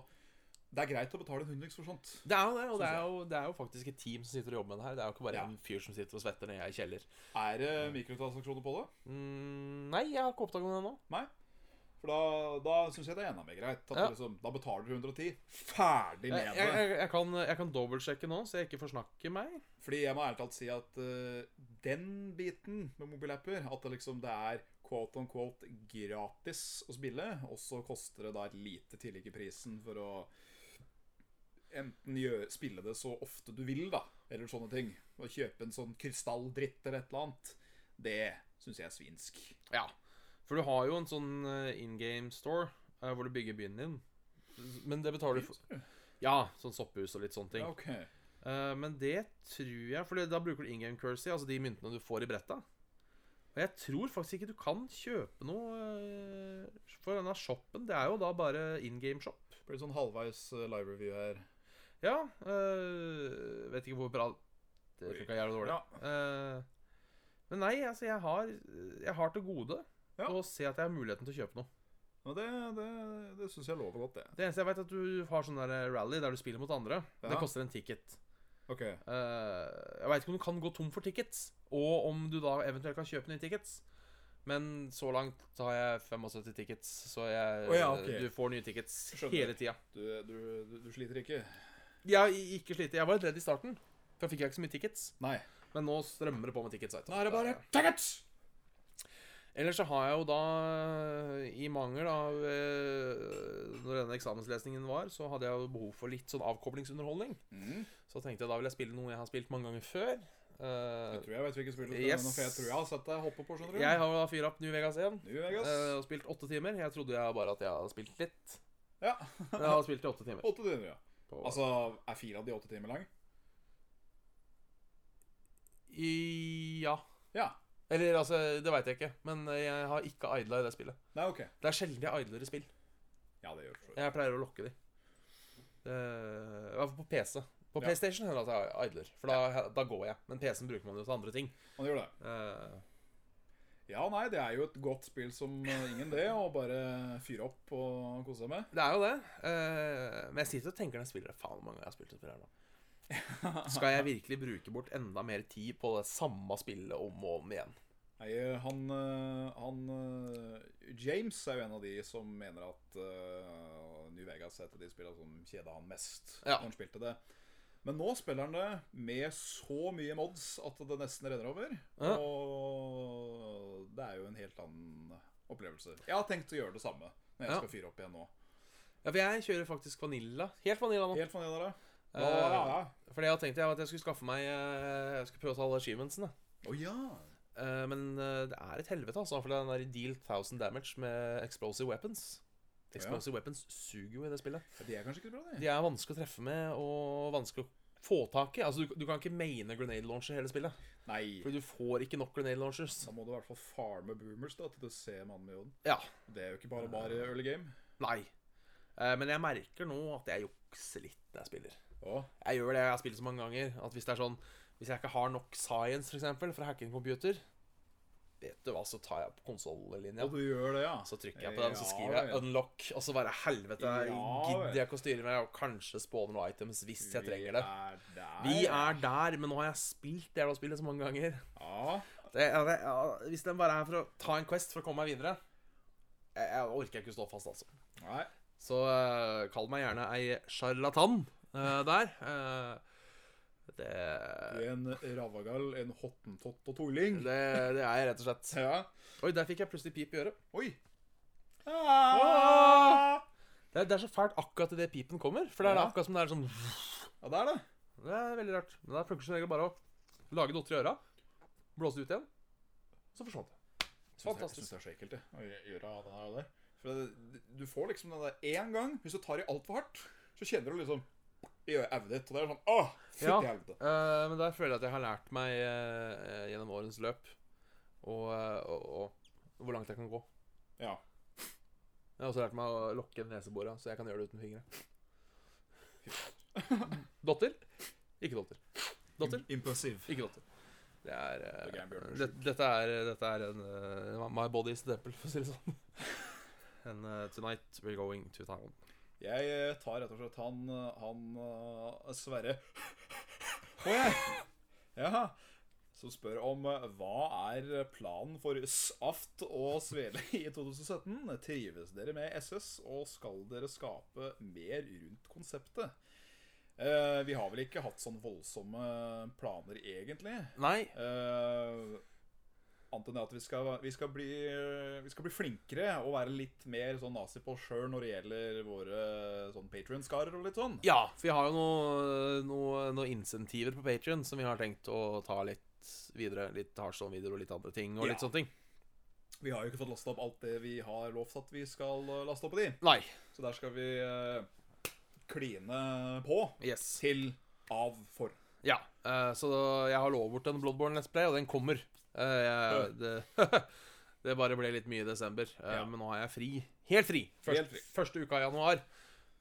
S3: det er greit å betale en hundrings for sånt.
S2: Det er jo det, og det
S3: Synes jeg.
S2: er jo, det er jo faktisk et team som sitter og jobber med det her. Det er jo ikke bare
S3: Ja.
S2: en fyr som sitter og svetter nede i kjeller.
S3: Er det mikrotransaksjoner på det?
S2: Mm, nei, jeg har ikke oppdaget det ennå.
S3: Nei. For da, da syns jeg det er enda mer greit. At
S2: Ja.
S3: du liksom, da betaler du 110. Ferdig
S2: Jeg,
S3: med
S2: jeg,
S3: det.
S2: jeg, jeg kan, jeg kan dobbeltsjekke nå, så jeg ikke forsnakker meg.
S3: Fordi jeg må ærlig talt si at eh, den biten med mobilapper, at det liksom det er quote on quote gratis å spille, og så koster det da et lite tillegg i prisen for å enten gjøre, spille det så ofte du vil, da, eller sånne ting. Å kjøpe en sånn krystalldritt eller et eller annet, det syns jeg er svinsk.
S2: Ja. For du har jo en sånn in game store eh, hvor du bygger byen din. Men det betaler du for Ja, sånn sopphus og litt sånne ting.
S3: Ja, ok.
S2: Eh, men det tror jeg For det- da bruker du in game currency, altså de myntene du får i bretta. Og jeg tror faktisk ikke du kan kjøpe noe eh, for denne shoppen. Det er jo da bare in game shop.
S3: Blir sånn halvveis eh, live review her.
S2: Ja eh, Vet ikke hvor bra Det funka jævlig dårlig.
S3: Ja.
S2: Eh, men nei, altså, jeg har, jeg har til gode
S3: Ja.
S2: å se at jeg har muligheten til å kjøpe noe.
S3: Men det, det, det syns jeg lover godt, det.
S2: Det eneste jeg vet er at du har sånn der rally der du spiller mot andre.
S3: Ja.
S2: Det koster en ticket.
S3: Ok.
S2: Eh, jeg veit ikke om du kan gå tom for tickets, og om du da eventuelt kan kjøpe nye tickets. Men så langt så har jeg 75 tickets, så jeg,
S3: Å ja, ok.
S2: du får nye tickets
S3: Skjønner.
S2: hele tida.
S3: Du, du, du, du sliter ikke?
S2: Jeg har ikke slitt. Jeg var litt redd i starten, for da fikk jeg ikke så mye tickets.
S3: Nei.
S2: Men nå strømmer det på med tickets. vet du.
S3: Nå er det bare tickets!
S2: Ellers så har jeg jo da, i mangel av eh, Når denne eksamenslesningen var, så hadde jeg jo behov for litt sånn avkoblingsunderholdning.
S3: Mm.
S2: Så tenkte jeg da vil jeg spille noe jeg har spilt mange ganger før. Eh,
S3: Jeg tror jeg vet hvilket spill du skal
S2: Yes.
S3: nevne, for jeg tror jeg har sett deg hoppe på, skjønner du.
S2: jeg har jo da fyra opp New Vegas 1
S3: New Vegas.
S2: eh, og spilt åtte timer. Jeg trodde jeg bare at jeg hadde spilt litt.
S3: ja.
S2: Men jeg har spilt i åtte timer.
S3: Åtte timer, ja.
S2: På,
S3: Altså, er fire av de åtte timer lang?
S2: i, ja.
S3: Ja.
S2: Eller altså, det veit jeg ikke. Men jeg har ikke idla i det spillet.
S3: Nei, ok.
S2: Det er sjelden jeg idler i spill.
S3: Ja, det gjør du.
S2: Jeg pleier å lokke de. Det, I hvert fall på PC. På
S3: Ja.
S2: PlayStation hender det at jeg idler, for da, da går jeg. Men PC-en bruker man jo til andre ting.
S3: Man gjør det.
S2: Eh,
S3: Ja, nei, det er jo et godt spill som eh, ingen det, å bare fyre opp og kose seg med.
S2: det er jo det. eh, men jeg sitter og tenker når jeg spiller det. Faen, hvor mange jeg har spilt det spillet her nå. Skal jeg virkelig bruke bort enda mer tid på det samme spillet om og om igjen?
S3: Nei, eh, han, eh, han eh, James er jo en av de som mener at eh, New Vegas er et av de spillene som kjeda han mest
S2: Ja.
S3: når han spilte det. Men nå spiller han det med så mye mods at det nesten renner over.
S2: Ja.
S3: Og det er jo en helt annen opplevelse. Jeg har tenkt å gjøre det samme når jeg
S2: Ja.
S3: skal fyre opp igjen nå.
S2: Ja, for jeg kjører faktisk Vanilla. Helt Vanilla nå.
S3: Helt fornøyd, dere.
S2: Eh,
S3: Ja, ja, ja.
S2: Fordi jeg tenkte jeg, at jeg skulle skaffe meg eh, Jeg skulle prøve å ta alle achievementsene.
S3: Å ja.
S2: Eh, men eh, det er et helvete, altså. For den der deal 1000 damage med explosive weapons. Explosive weapons suger jo i det spillet.
S3: De er kanskje ikke så bra, de.
S2: De er vanskelig å treffe med og vanskelig å få tak i. Altså, du, du kan ikke maine grenade launcher i hele spillet.
S3: Nei.
S2: Fordi du får ikke nok grenade launchers.
S3: Da må du i hvert fall farme boomers da, til du ser mannen med joden.
S2: Ja.
S3: Det er jo ikke bare bare early game.
S2: Nei. Eh, Men jeg merker nå at jeg jukser litt når jeg spiller.
S3: Å,
S2: Jeg gjør det jeg har spilt så mange ganger. At Hvis det er sånn Hvis jeg ikke har nok science, f.eks., for eksempel, for å hacke en computer, vet du hva, så tar jeg på konsollinja.
S3: Og du gjør det, ja.
S2: Så trykker jeg på den, så skriver
S3: Ja,
S2: jeg
S3: vel.
S2: 'unlock', og så bare helvete,
S3: Ja,
S2: gidder
S3: vel.
S2: jeg ikke å styre med, og kanskje spawner noen items hvis jeg trenger det.
S3: Vi er der.
S2: Vi er der, men nå har jeg spilt det jævla spillet så mange ganger.
S3: Ja.
S2: Det, ja, det, ja, hvis den bare er for å ta en quest for å komme meg videre Jeg, jeg orker ikke å stå fast, altså.
S3: Nei.
S2: Så eh, kall meg gjerne ei sjarlatan eh, der. Eh,
S3: Du
S2: det,
S3: er en ravagal, en hottentott og toling.
S2: det Det er jeg rett og slett.
S3: Ja.
S2: Oi, der fikk jeg plutselig pip i øret.
S3: Oi.
S2: Det er, det er så fælt akkurat idet pipen kommer. For det er
S3: Ja.
S2: akkurat som det er sånn
S3: Ja, det er det.
S2: Det er veldig rart. Men da funker som regel bare å lage dotter i øra, blåse det ut igjen, så forsvant det.
S3: Fantastisk. Jeg syns det er så ekkelt, det. Å gjø- gjøre av den her og der. For det, du får liksom den der én gang. Hvis du tar i altfor hardt, så kjenner du liksom i øyet ditt. Og det er sånn Åh! Fytti
S2: Ja.
S3: helvete.
S2: Eh, men der føler jeg at jeg har lært meg eh, eh, gjennom årens løp og, eh, og, og hvor langt jeg kan gå.
S3: Ja.
S2: Jeg har også lært meg å lokke neseborene, så jeg kan gjøre det uten fingre. Dotter? Ikke dotter. Dotter?
S3: Impulsiv.
S2: Ikke dotter. Det er, eh,
S3: Det er Bjørn Bjørnsen.
S2: det, dette er Dette er en eh, My body is the temple, for å si det sånn. And eh, tonight we're going to town.
S3: Jeg eh, tar rett og slett han, eh, han eh, Sverre Å, jeg. Ja. Som spør om eh, hva er planen for Saft og Svele i 2017. Trives dere med SS, og skal dere skape mer rundt konseptet? Eh, vi har vel ikke hatt sånn voldsomme planer, egentlig.
S2: Nei,
S3: Uh, Annet enn det at vi skal, vi, skal bli, vi skal bli flinkere og være litt mer sånn nazi på oss sjøl når det gjelder våre sånn patrionskarer og litt sånn.
S2: Ja, for vi har jo noen noe, noe insentiver på Patreon som vi har tenkt å ta litt videre. Litt Hardstone-videoer og litt andre ting. og litt
S3: Ja.
S2: sånne ting.
S3: Vi har jo ikke fått lasta opp alt det vi har lovt at vi skal eh, laste opp på de.
S2: Nei.
S3: Så der skal vi eh, kline på
S2: Yes.
S3: til av for.
S2: Ja. eh, så jeg har lovbort en Bloodborne Let's Play, og den kommer. Eh, jeg, det, det bare ble litt mye i desember. eh,
S3: Ja.
S2: Men nå er jeg fri. Helt fri. Først,
S3: Helt fri.
S2: Første uka i januar.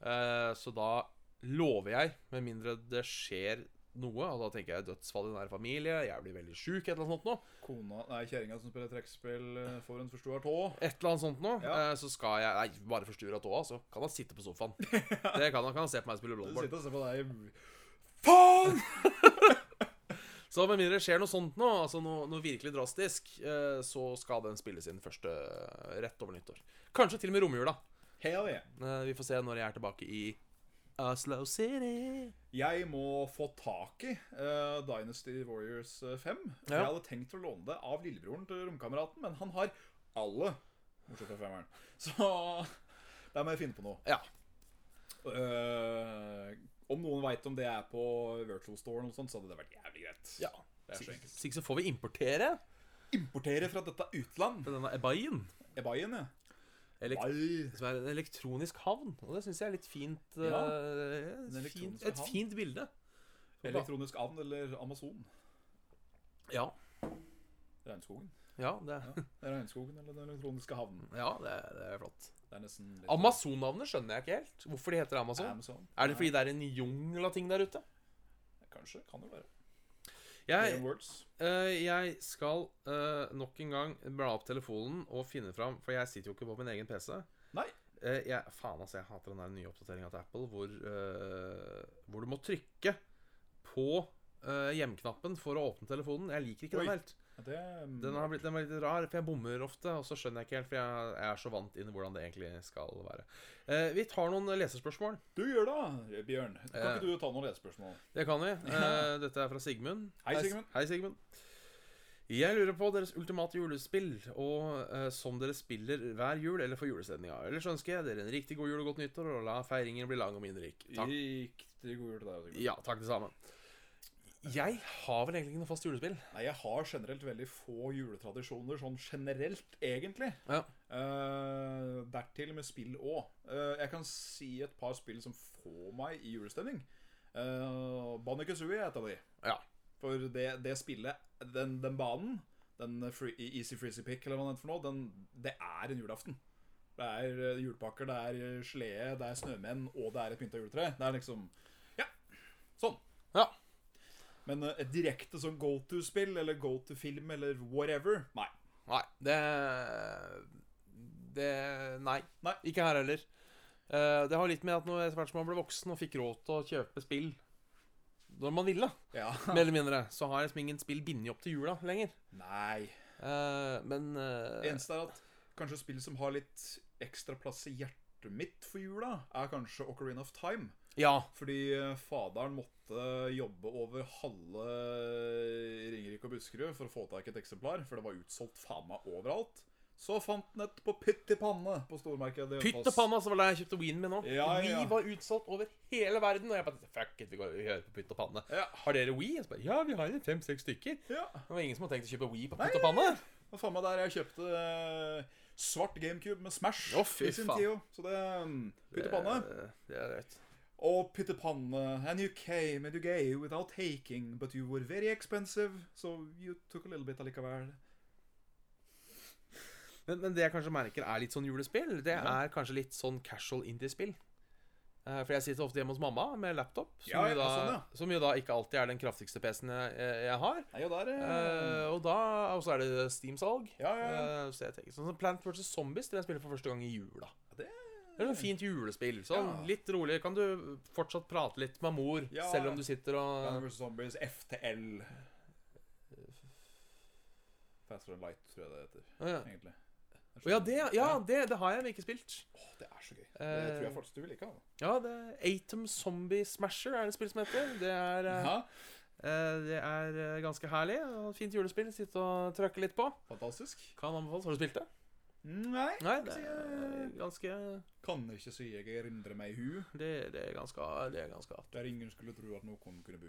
S2: Eh, så da lover jeg, med mindre det skjer noe, og da tenker jeg dødsfall i nær familie, jeg blir veldig sjuk, et eller annet sånt noe.
S3: Kona Nei, kjerringa som spiller trekkspill, eh, får en forstua tå.
S2: Et eller annet sånt nå,
S3: Ja.
S2: eh, så skal jeg Nei, bare forstyrre tåa, så kan han sitte på sofaen. Det kan han, kan han se på meg spille
S3: Du
S2: Bloodborne.
S3: sitter og ser på deg Faen!
S2: Så med mindre det skjer noe sånt nå, altså noe, noe virkelig drastisk, eh, så skal den spilles inn første eh, rett over nyttår. Kanskje til og med romjula.
S3: Hell yeah.
S2: Eh, Vi får se når jeg er tilbake i Oslo City.
S3: Jeg må få tak i eh, Dynasty Warriors eh, 5.
S2: Ja.
S3: Jeg hadde tenkt å låne det av lillebroren til romkameraten, men han har alle. Bortsett fra femmeren. Så der må jeg finne på noe.
S2: Ja.
S3: Eh, om noen veit om det er på Virtual Store, eller noe sånt, så hadde det vært jævlig greit.
S2: ja.
S3: Det er så
S2: Så
S3: enkelt.
S2: så ikke så får vi importere
S3: Importere fra dette utland.
S2: denne ebayen.
S3: Ebayen, ja.
S2: Elekt
S3: Nei.
S2: som er en elektronisk havn. Og det syns jeg er litt fint. eh,
S3: Ja,
S2: et fint
S3: elektroniske
S2: et
S3: havn.
S2: fint bilde.
S3: Elektronisk avn eller Amazon.
S2: Ja.
S3: Regnskogen.
S2: Ja, det,
S3: Det er regnskogen eller den elektroniske havnen.
S2: ja, det, det er flott.
S3: Det er nesten litt
S2: Amazon-navnet skjønner jeg ikke helt. Hvorfor de heter Amazon?
S3: Amazon.
S2: er det fordi det er en jungel av ting der ute?
S3: Kanskje. Kan det være.
S2: Jeg,
S3: Plain words.
S2: øh, jeg skal øh, nok en gang bla opp telefonen og finne fram For jeg sitter jo ikke på min egen PC.
S3: Nei.
S2: Eh, jeg, faen, altså, jeg hater den der nye oppdateringa til Apple hvor, øh, hvor du må trykke på øh, hjemknappen for å åpne telefonen. Jeg liker ikke
S3: Oi.
S2: den helt.
S3: Ja, Det, um,
S2: Den har blitt den var litt rar, for jeg bommer ofte, og så skjønner jeg ikke helt, for jeg, jeg er så vant inn i hvordan det egentlig skal være. Eh, vi tar noen leserspørsmål.
S3: Du gjør det, Bjørn. Kan
S2: Eh.
S3: ikke du ta noen lesespørsmål?
S2: Det kan vi. Eh, dette er fra Sigmund.
S3: Hei, Sigmund.
S2: Hei, Sigmund. Jeg lurer på deres ultimate julespill, og eh, som dere spiller hver jul eller for julesendinga. Ellers ønsker jeg dere en riktig god jul og godt nyttår, og la feiringen bli lang og minnerik. Takk.
S3: Riktig god jul til deg. Sigmund.
S2: Ja, takk det samme. Jeg har vel egentlig ikke noe fast julespill.
S3: Nei, jeg har generelt veldig få juletradisjoner, sånn generelt, egentlig.
S2: Ja.
S3: Eh, dertil med spill òg. jeg kan si et par spill som får meg i julestemning. Uh, Bannikazooie er et av de.
S2: Ja.
S3: For det, det spillet, den, den banen, den free, Easy Freezy Pick eller hva den heter for noe, den, det er en julaften. Det er eh, julepakker, det er eh, slede, det er snømenn, og det er et pynta juletre. Det er liksom Ja, sånn.
S2: Ja.
S3: Men eh, et direkte sånn go to-spill eller go to-film eller whatever Nei.
S2: Nei, det Det Nei.
S3: Nei.
S2: Ikke her heller. Eh, det har litt med at når etter hvert som man ble voksen og fikk råd til å kjøpe spill når man ville,
S3: Ja.
S2: mer eller mindre, så har liksom ingen spill bindet opp til jula lenger.
S3: Nei.
S2: Eh, men eh,
S3: Det eneste er at kanskje spill som har litt ekstra plass i hjertet mitt for jula, er kanskje Ocarina of Time.
S2: Ja.
S3: Fordi eh, faderen måtte jobbe over halve Ringerike og Buskerud for å få tak i et eksemplar, for det var utsolgt faen meg overalt. Så fant han et på pytt i panne på stormarkedet. i
S2: Pytt
S3: Hønefoss.
S2: og panna, så var det jeg kjøpte Wien min òg.
S3: Ja, ja.
S2: Vi var utsolgt over hele verden. Og jeg bare Fuck it, vi går vi hører på Pytt og panne.
S3: Ja.
S2: Har dere Wii? Jeg bare, ja, vi har fem-seks stykker.
S3: Ja.
S2: Det var ingen som hadde tenkt å kjøpe Wii på Pytt og panne.
S3: Og faen meg der jeg kjøpte eh, svart GameCube med Smash
S2: Å, fy
S3: i sin
S2: faen.
S3: tid. jo. Så det mm, Pytt i panne.
S2: Det, Eh, det er greit.
S3: Og pytt i panne. And you came and you gave without taking, but you were very expensive, so you took a little bit allikevel.
S2: Men, men det jeg kanskje merker er litt sånn julespill, det
S3: Ja.
S2: er kanskje litt sånn casual indie-spill. Eh, For jeg sitter ofte hjemme hos mamma med laptop, som,
S3: Ja, ja,
S2: jo da,
S3: sånn, ja.
S2: som jo da ikke alltid er den kraftigste PC-en jeg, jeg- jeg har.
S3: Nei, og der eh,
S2: Eh, og da, og så er det Steam-salg.
S3: Ja, ja, ja.
S2: Eh, så jeg tenker, sånn som Plant vs. Zombies vil jeg spille for første gang i jula.
S3: Det
S2: Det er sånn fint julespill. Sånn
S3: Ja.
S2: Litt rolig. Kan du fortsatt prate litt med mor,
S3: Ja.
S2: selv om du sitter
S3: Batman
S2: og
S3: vs. Zombies, FTL Faster and Light, tror jeg det heter.
S2: Å
S3: egentlig
S2: ja, det, ja det, det har jeg men ikke spilt.
S3: Åh, det er så gøy. Det
S2: Eh,
S3: tror jeg faktisk du vil like. da.
S2: Ja, det er Atom Zombie Smasher er det spill som heter. Det er eh,
S3: Ja,
S2: Eh, Det er eh, ganske herlig. og Fint julespill. Sitte og trøkke litt på.
S3: fantastisk.
S2: Kan anbefales. Har du spilt det?
S3: Nei,
S2: Nei,
S3: ikke
S2: det
S3: si
S2: er
S3: jeg-
S2: ganske
S3: Kan ikke si jeg erindrer meg i hu.
S2: Det, det er ganske Det er ganske artig.
S3: Der ingen skulle tro at noen kunne bo.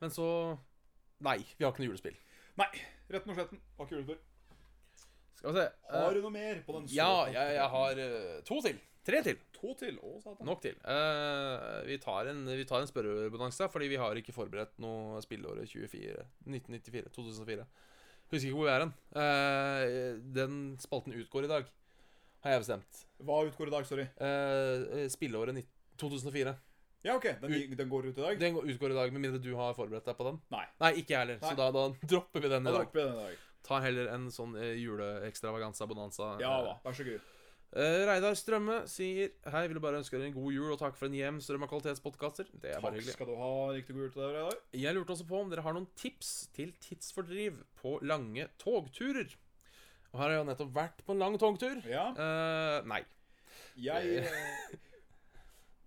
S2: Men så Nei, vi har ikke noe julespill.
S3: Nei, retten og sletten. Var ikke juletur.
S2: Skal vi se. eh,
S3: Har du noe mer på den?
S2: ja,
S3: såkalte-
S2: jeg, jeg har eh, to til. Tre til.
S3: To til. Å, satan.
S2: Nok til. Eh, vi tar en, vi tar en spørrebonanse, fordi vi har ikke forberedt noe spillåret 24, 1994. 2004. Husker ikke hvor vi er hen. Eh, den spalten utgår i dag, har jeg bestemt.
S3: Hva utgår i dag? Sorry.
S2: Eh, spilleåret nitt- 2004.
S3: Ja, OK. Den, den går ut i dag?
S2: Den går- utgår i dag, med mindre du har forberedt deg på den.
S3: Nei.
S2: Nei, ikke jeg heller.
S3: Nei.
S2: Så da, da dropper vi den i
S3: Da
S2: dag.
S3: dropper jeg den i dag.
S2: Ta heller en sånn eh, juleekstravaganza-bonanza.
S3: Ja da. Vær så god.
S2: Eh, Reidar Strømme sier Hei, vil bare ønske dere en god jul og takk for en jevn strøm av kvalitetspodkaster. Det er bare
S3: Takk
S2: hyggelig.
S3: skal du ha. Riktig god jul til deg i dag.
S2: Jeg lurte også på om dere har noen tips til tidsfordriv på lange togturer. Og her har jeg jo nettopp vært på en lang togtur.
S3: Ja.
S2: Eh, nei.
S3: Jeg eh,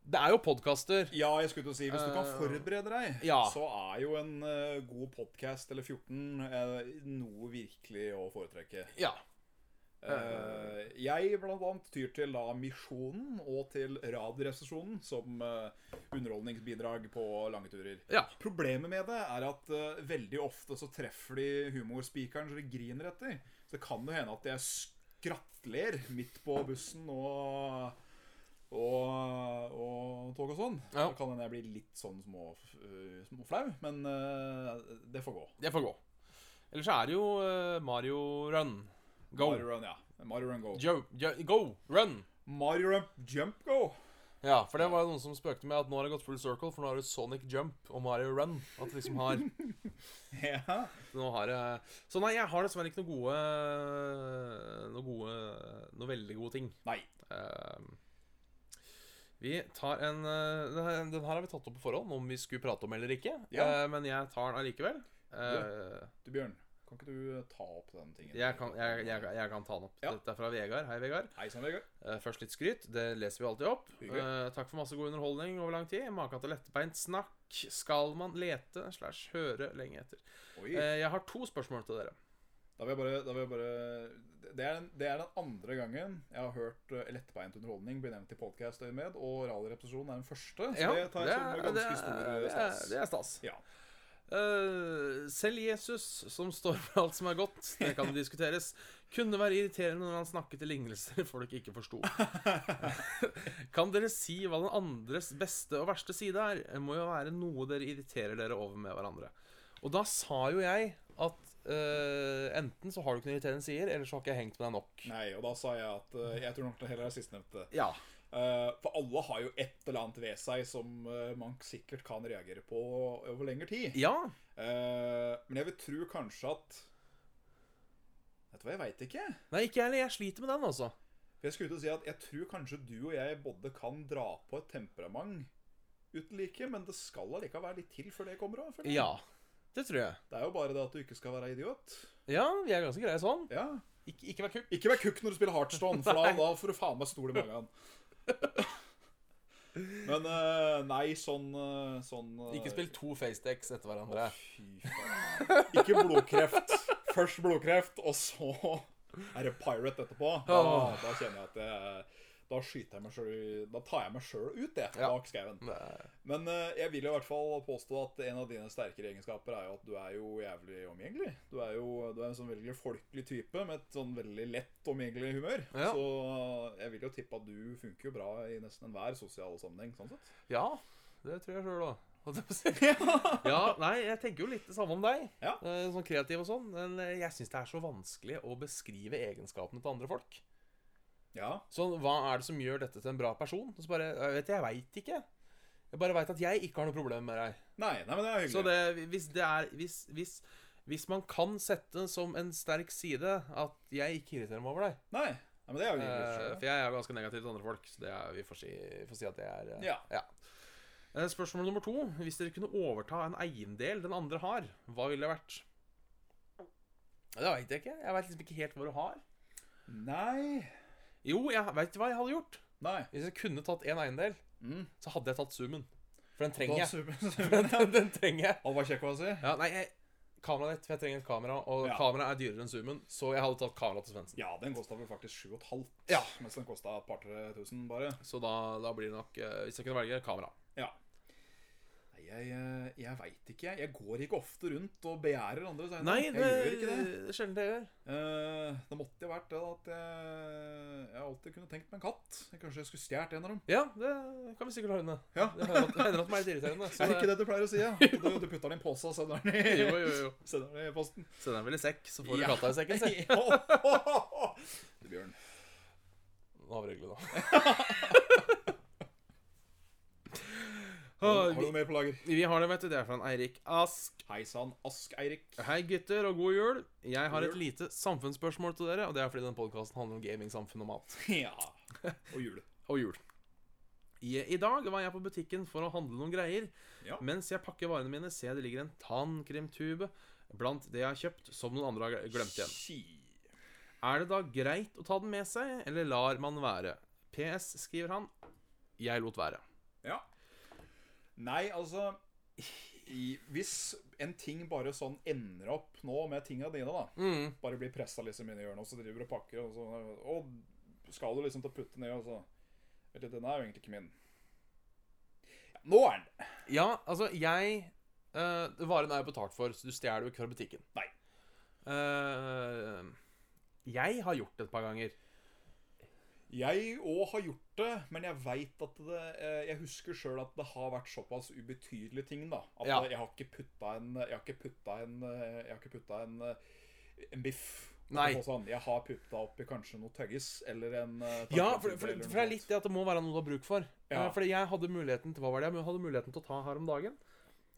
S2: Det er jo podkaster.
S3: Ja, jeg skulle til å si, hvis du kan
S2: Eh,
S3: forberede deg,
S2: ja.
S3: så er jo en eh, god podcast eller 14 eh, noe virkelig å foretrekke.
S2: Ja.
S3: Eh, jeg blant annet tyr til da Misjonen og til Radioresepsjonen som eh, underholdningsbidrag på lange turer.
S2: Ja.
S3: Problemet med det er at eh, veldig ofte så treffer de humorspikeren så de griner etter. Så det kan jo hende at jeg skrattler midt på bussen og og, og tog og sånn.
S2: Ja.
S3: Da kan hende jeg blir litt sånn små, eh, småflau, men eh, det får gå.
S2: Det får gå. Eller så er det jo eh, Mario Run. Go.
S3: Mario Run, ja. Mario Run Go.
S2: Jo, jo, go, run.
S3: Mario Run Jump Go.
S2: Ja, for det var jo noen som spøkte med at nå har det gått full circle, for nå har du Sonic Jump og Mario Run. At det liksom har
S3: Ja.
S2: Nå har det Så nei, jeg har dessverre ikke noen gode Noen gode Noen veldig gode ting.
S3: Nei.
S2: Ehm, vi tar en eh, den her- Den her har vi tatt opp på forhånd, om vi skulle prate om eller ikke.
S3: Ja.
S2: Eh, men jeg tar den allikevel. Eh,
S3: Du, Bjørn, kan ikke du eh, ta opp den tingen?
S2: jeg, kan, jeg, jeg, jeg kan ta den opp.
S3: Ja.
S2: Dette er fra Vegard. Hei, Vegard.
S3: Hei sann, Vegard.
S2: Eh, Først litt skryt, det leser vi alltid opp.
S3: Hyggelig.
S2: Eh, takk for masse god underholdning over lang tid. Maken til lettbeint snakk skal man lete slash høre lenge etter.
S3: Oi.
S2: Eh, jeg har to spørsmål til dere.
S3: Da vil jeg bare, da vil jeg bare det, er den, det er den andre gangen jeg har hørt eh, lettbeint underholdning bli nevnt i podkast-øyemed, og radiorepetisjonen er den første, så det tar jeg som en
S2: det,
S3: ganske
S2: er,
S3: stor eh,
S2: det, er,
S3: stas.
S2: det er stas.
S3: Ja.
S2: Eh, selv Jesus, som står for alt som er godt, det kan diskuteres, kunne være irriterende når han snakket i lignelser folk ikke forsto. kan dere si hva den andres beste og verste side er? Det må jo være noe dere irriterer dere over med hverandre. Og da sa jo jeg at eh, enten så har du ikke noen irriterende sider, eller så har ikke jeg hengt med deg nok.
S3: Nei, og da sa jeg at eh, jeg tror nok det heller er sistnevnte.
S2: Ja.
S3: Eh, for alle har jo et eller annet ved seg som eh, man sikkert kan reagere på over lengre tid.
S2: Ja.
S3: Eh, men jeg vil tro kanskje at Vet du hva, jeg veit ikke.
S2: Nei, ikke jeg heller. Jeg sliter med den, altså.
S3: For jeg skulle til å si at jeg tror kanskje du og jeg både kan dra på et temperament uten like, men det skal allikevel være litt til før det kommer òg.
S2: Ja. Det tror jeg.
S3: Det er jo bare det at du ikke skal være idiot.
S2: Ja, vi er ganske greie sånn.
S3: Ja.
S2: Ikke, ikke vær kukk.
S3: Ikke vær kukk når du spiller Heartstone, for da, da får du faen meg stol i magen. Men eh, nei, sånn, eh, sånn eh,
S2: Ikke spill to facedecks etter
S3: Å,
S2: hverandre.
S3: fy faen. Ikke blodkreft. Først blodkreft, og så er det pirate etterpå. Da,
S2: Åh.
S3: da kjenner jeg at jeg da skyter jeg meg selv, da tar jeg meg sjøl ut jeg,
S2: Ja.
S3: bak skauen. Men eh, jeg vil i hvert fall påstå at en av dine sterkere egenskaper er jo at du er jo jævlig omgjengelig. Du er jo du er en sånn veldig folkelig type med et sånn veldig lett omgjengelig humør.
S2: Ja.
S3: Så eh, jeg vil jo tippe at du funker jo bra i nesten enhver sosial sammenheng. sånn sett.
S2: Ja, det tror jeg sjøl òg. ja, nei, jeg tenker jo litt det samme om deg.
S3: Ja.
S2: Eh, Sånn kreativ og sånn. Men eh, jeg syns det er så vanskelig å beskrive egenskapene til andre folk.
S3: Ja.
S2: Sånn, hva er det som gjør dette til en bra person? Og så bare Jeg vet jeg veit ikke. Jeg bare veit at jeg ikke har noe problem med deg.
S3: Nei, nei, men det er hyggelig.
S2: Så det, hvis det er hvis, hvis, hvis man kan sette som en sterk side at jeg ikke irriterer meg over deg
S3: Nei, nei, men det er jo hyggelig.
S2: Eh,
S3: forstår
S2: for jeg er jo ganske negativ til andre folk, så det er, vi får si, får si at det er eh,
S3: Ja.
S2: Eh, Spørsmål nummer to. Hvis dere kunne overta en eiendel den andre har, hva ville det vært? Det veit jeg ikke. Jeg veit liksom ikke helt hva du har.
S3: jeg. Nei.
S2: Jo, jeg veit hva jeg hadde gjort.
S3: Nei.
S2: Hvis jeg kunne tatt én eiendel,
S3: Mm.
S2: så hadde jeg tatt summen. For den trenger
S3: Da
S2: jeg.
S3: super,
S2: Den,
S3: super.
S2: den, den trenger jeg.
S3: Han var kjekk å si.
S2: Ja, nei, jeg, kameraet ditt. For jeg trenger et kamera, og
S3: Ja.
S2: kameraet er dyrere enn summen. Så jeg hadde tatt kameraet til Svendsen.
S3: Ja, den kosta vel faktisk 7,5,
S2: Ja.
S3: mens den kosta et par-tre tusen bare.
S2: Så da, da blir det nok, eh, hvis jeg kunne velge, kamera.
S3: Ja. Nei, jeg, eh, jeg veit ikke. jeg. Jeg går ikke ofte rundt og begjærer andres eiendom.
S2: Nei, det,
S3: Jeg gjør ikke det.
S2: er sjelden det jeg gjør.
S3: Eh, det måtte jo vært det da, at jeg, jeg alltid kunne tenkt meg en katt. Kanskje jeg skulle stjålet en av dem.
S2: Ja, det kan vi sikkert ha inne.
S3: Ja.
S2: Det hender at- hender at meg er litt irriterende. så
S3: Er det ikke det du pleier å si? ja? Du, du putter den i en pose og sender den
S2: Jo,
S3: i,
S2: jo, jo.
S3: sender den i posten.
S2: Så den vel i sekk, så får du
S3: Ja.
S2: katta i sekken. Se.
S3: Du, Bjørn.
S2: Nå har vi regler, da.
S3: Har du
S2: vi,
S3: noe mer på lager?
S2: vi har det, vet du. Det er fra en Eirik Ask.
S3: Hei sann, Ask-Eirik.
S2: Hei, gutter, og god jul. Jeg har
S3: God
S2: et
S3: jul.
S2: lite samfunnsspørsmål til dere, og det er fordi den podkasten handler om gaming, samfunn og mat.
S3: Ja. Og jul.
S2: Og jul. I, I dag var jeg på butikken for å handle noen greier.
S3: Ja.
S2: Mens jeg pakker varene mine, ser jeg det ligger en tannkremtube blant det jeg har kjøpt, som noen andre har glemt igjen. Er det da greit å ta den med seg, eller lar man være? PS, skriver han. Jeg lot være.
S3: Ja. Nei, altså i, Hvis en ting bare sånn ender opp nå med tinga dine, da
S2: Mm.
S3: Bare blir pressa liksom inn i hjørnet, og så driver du og pakker, og så Og skal du liksom til å putte ned, og så Vet du, den er jo egentlig ikke min. Ja, nå er den det.
S2: Ja, altså, jeg eh, Varen er jo betalt for, så du stjeler jo ikke fra butikken.
S3: Nei.
S2: Eh, jeg har gjort det et par ganger.
S3: Jeg òg har gjort det, men jeg veit at det eh, Jeg husker sjøl at det har vært såpass ubetydelige ting, da. At
S2: Ja.
S3: eh, jeg har ikke putta en Jeg har ikke putta en eh, Jeg har ikke putta en, eh, en biff.
S2: Nei.
S3: Og Sånn. Jeg har putta oppi kanskje noe tøggis eller en eh,
S2: Ja,
S3: tannkremtube
S2: for, for,
S3: eller noe
S2: for det er
S3: sånt.
S2: litt det at det må være noe du har bruk for.
S3: Ja.
S2: Eh, fordi jeg hadde muligheten til Hva var det jeg hadde muligheten til å ta her om dagen?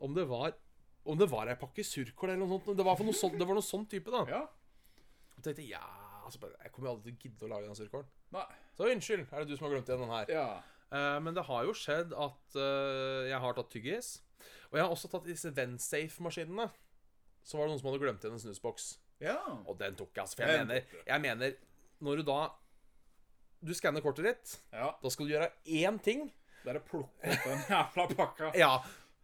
S2: Om det var Om det var ei pakke surkål eller noe sånt. Det var, for noe sånt, det var noe sånn type, da.
S3: Ja.
S2: Og tenkte jeg, ja, altså, bare, jeg kommer jo aldri til å gidde å lage den surkålen.
S3: Nei.
S2: Så unnskyld, er det du som har glemt igjen den her?
S3: Ja.
S2: Eh, men det har jo skjedd at eh, jeg har tatt tyggis. Og jeg har også tatt disse Vensafe-maskinene. Så var det noen som hadde glemt igjen en snusboks.
S3: ja.
S2: Og den tok jeg, altså. For jeg
S3: Den
S2: mener,
S3: tok
S2: jeg mener Når du da Du skanner kortet ditt,
S3: ja.
S2: da skal du gjøre én ting.
S3: Det er å plukke opp den jævla pakka.
S2: Ja.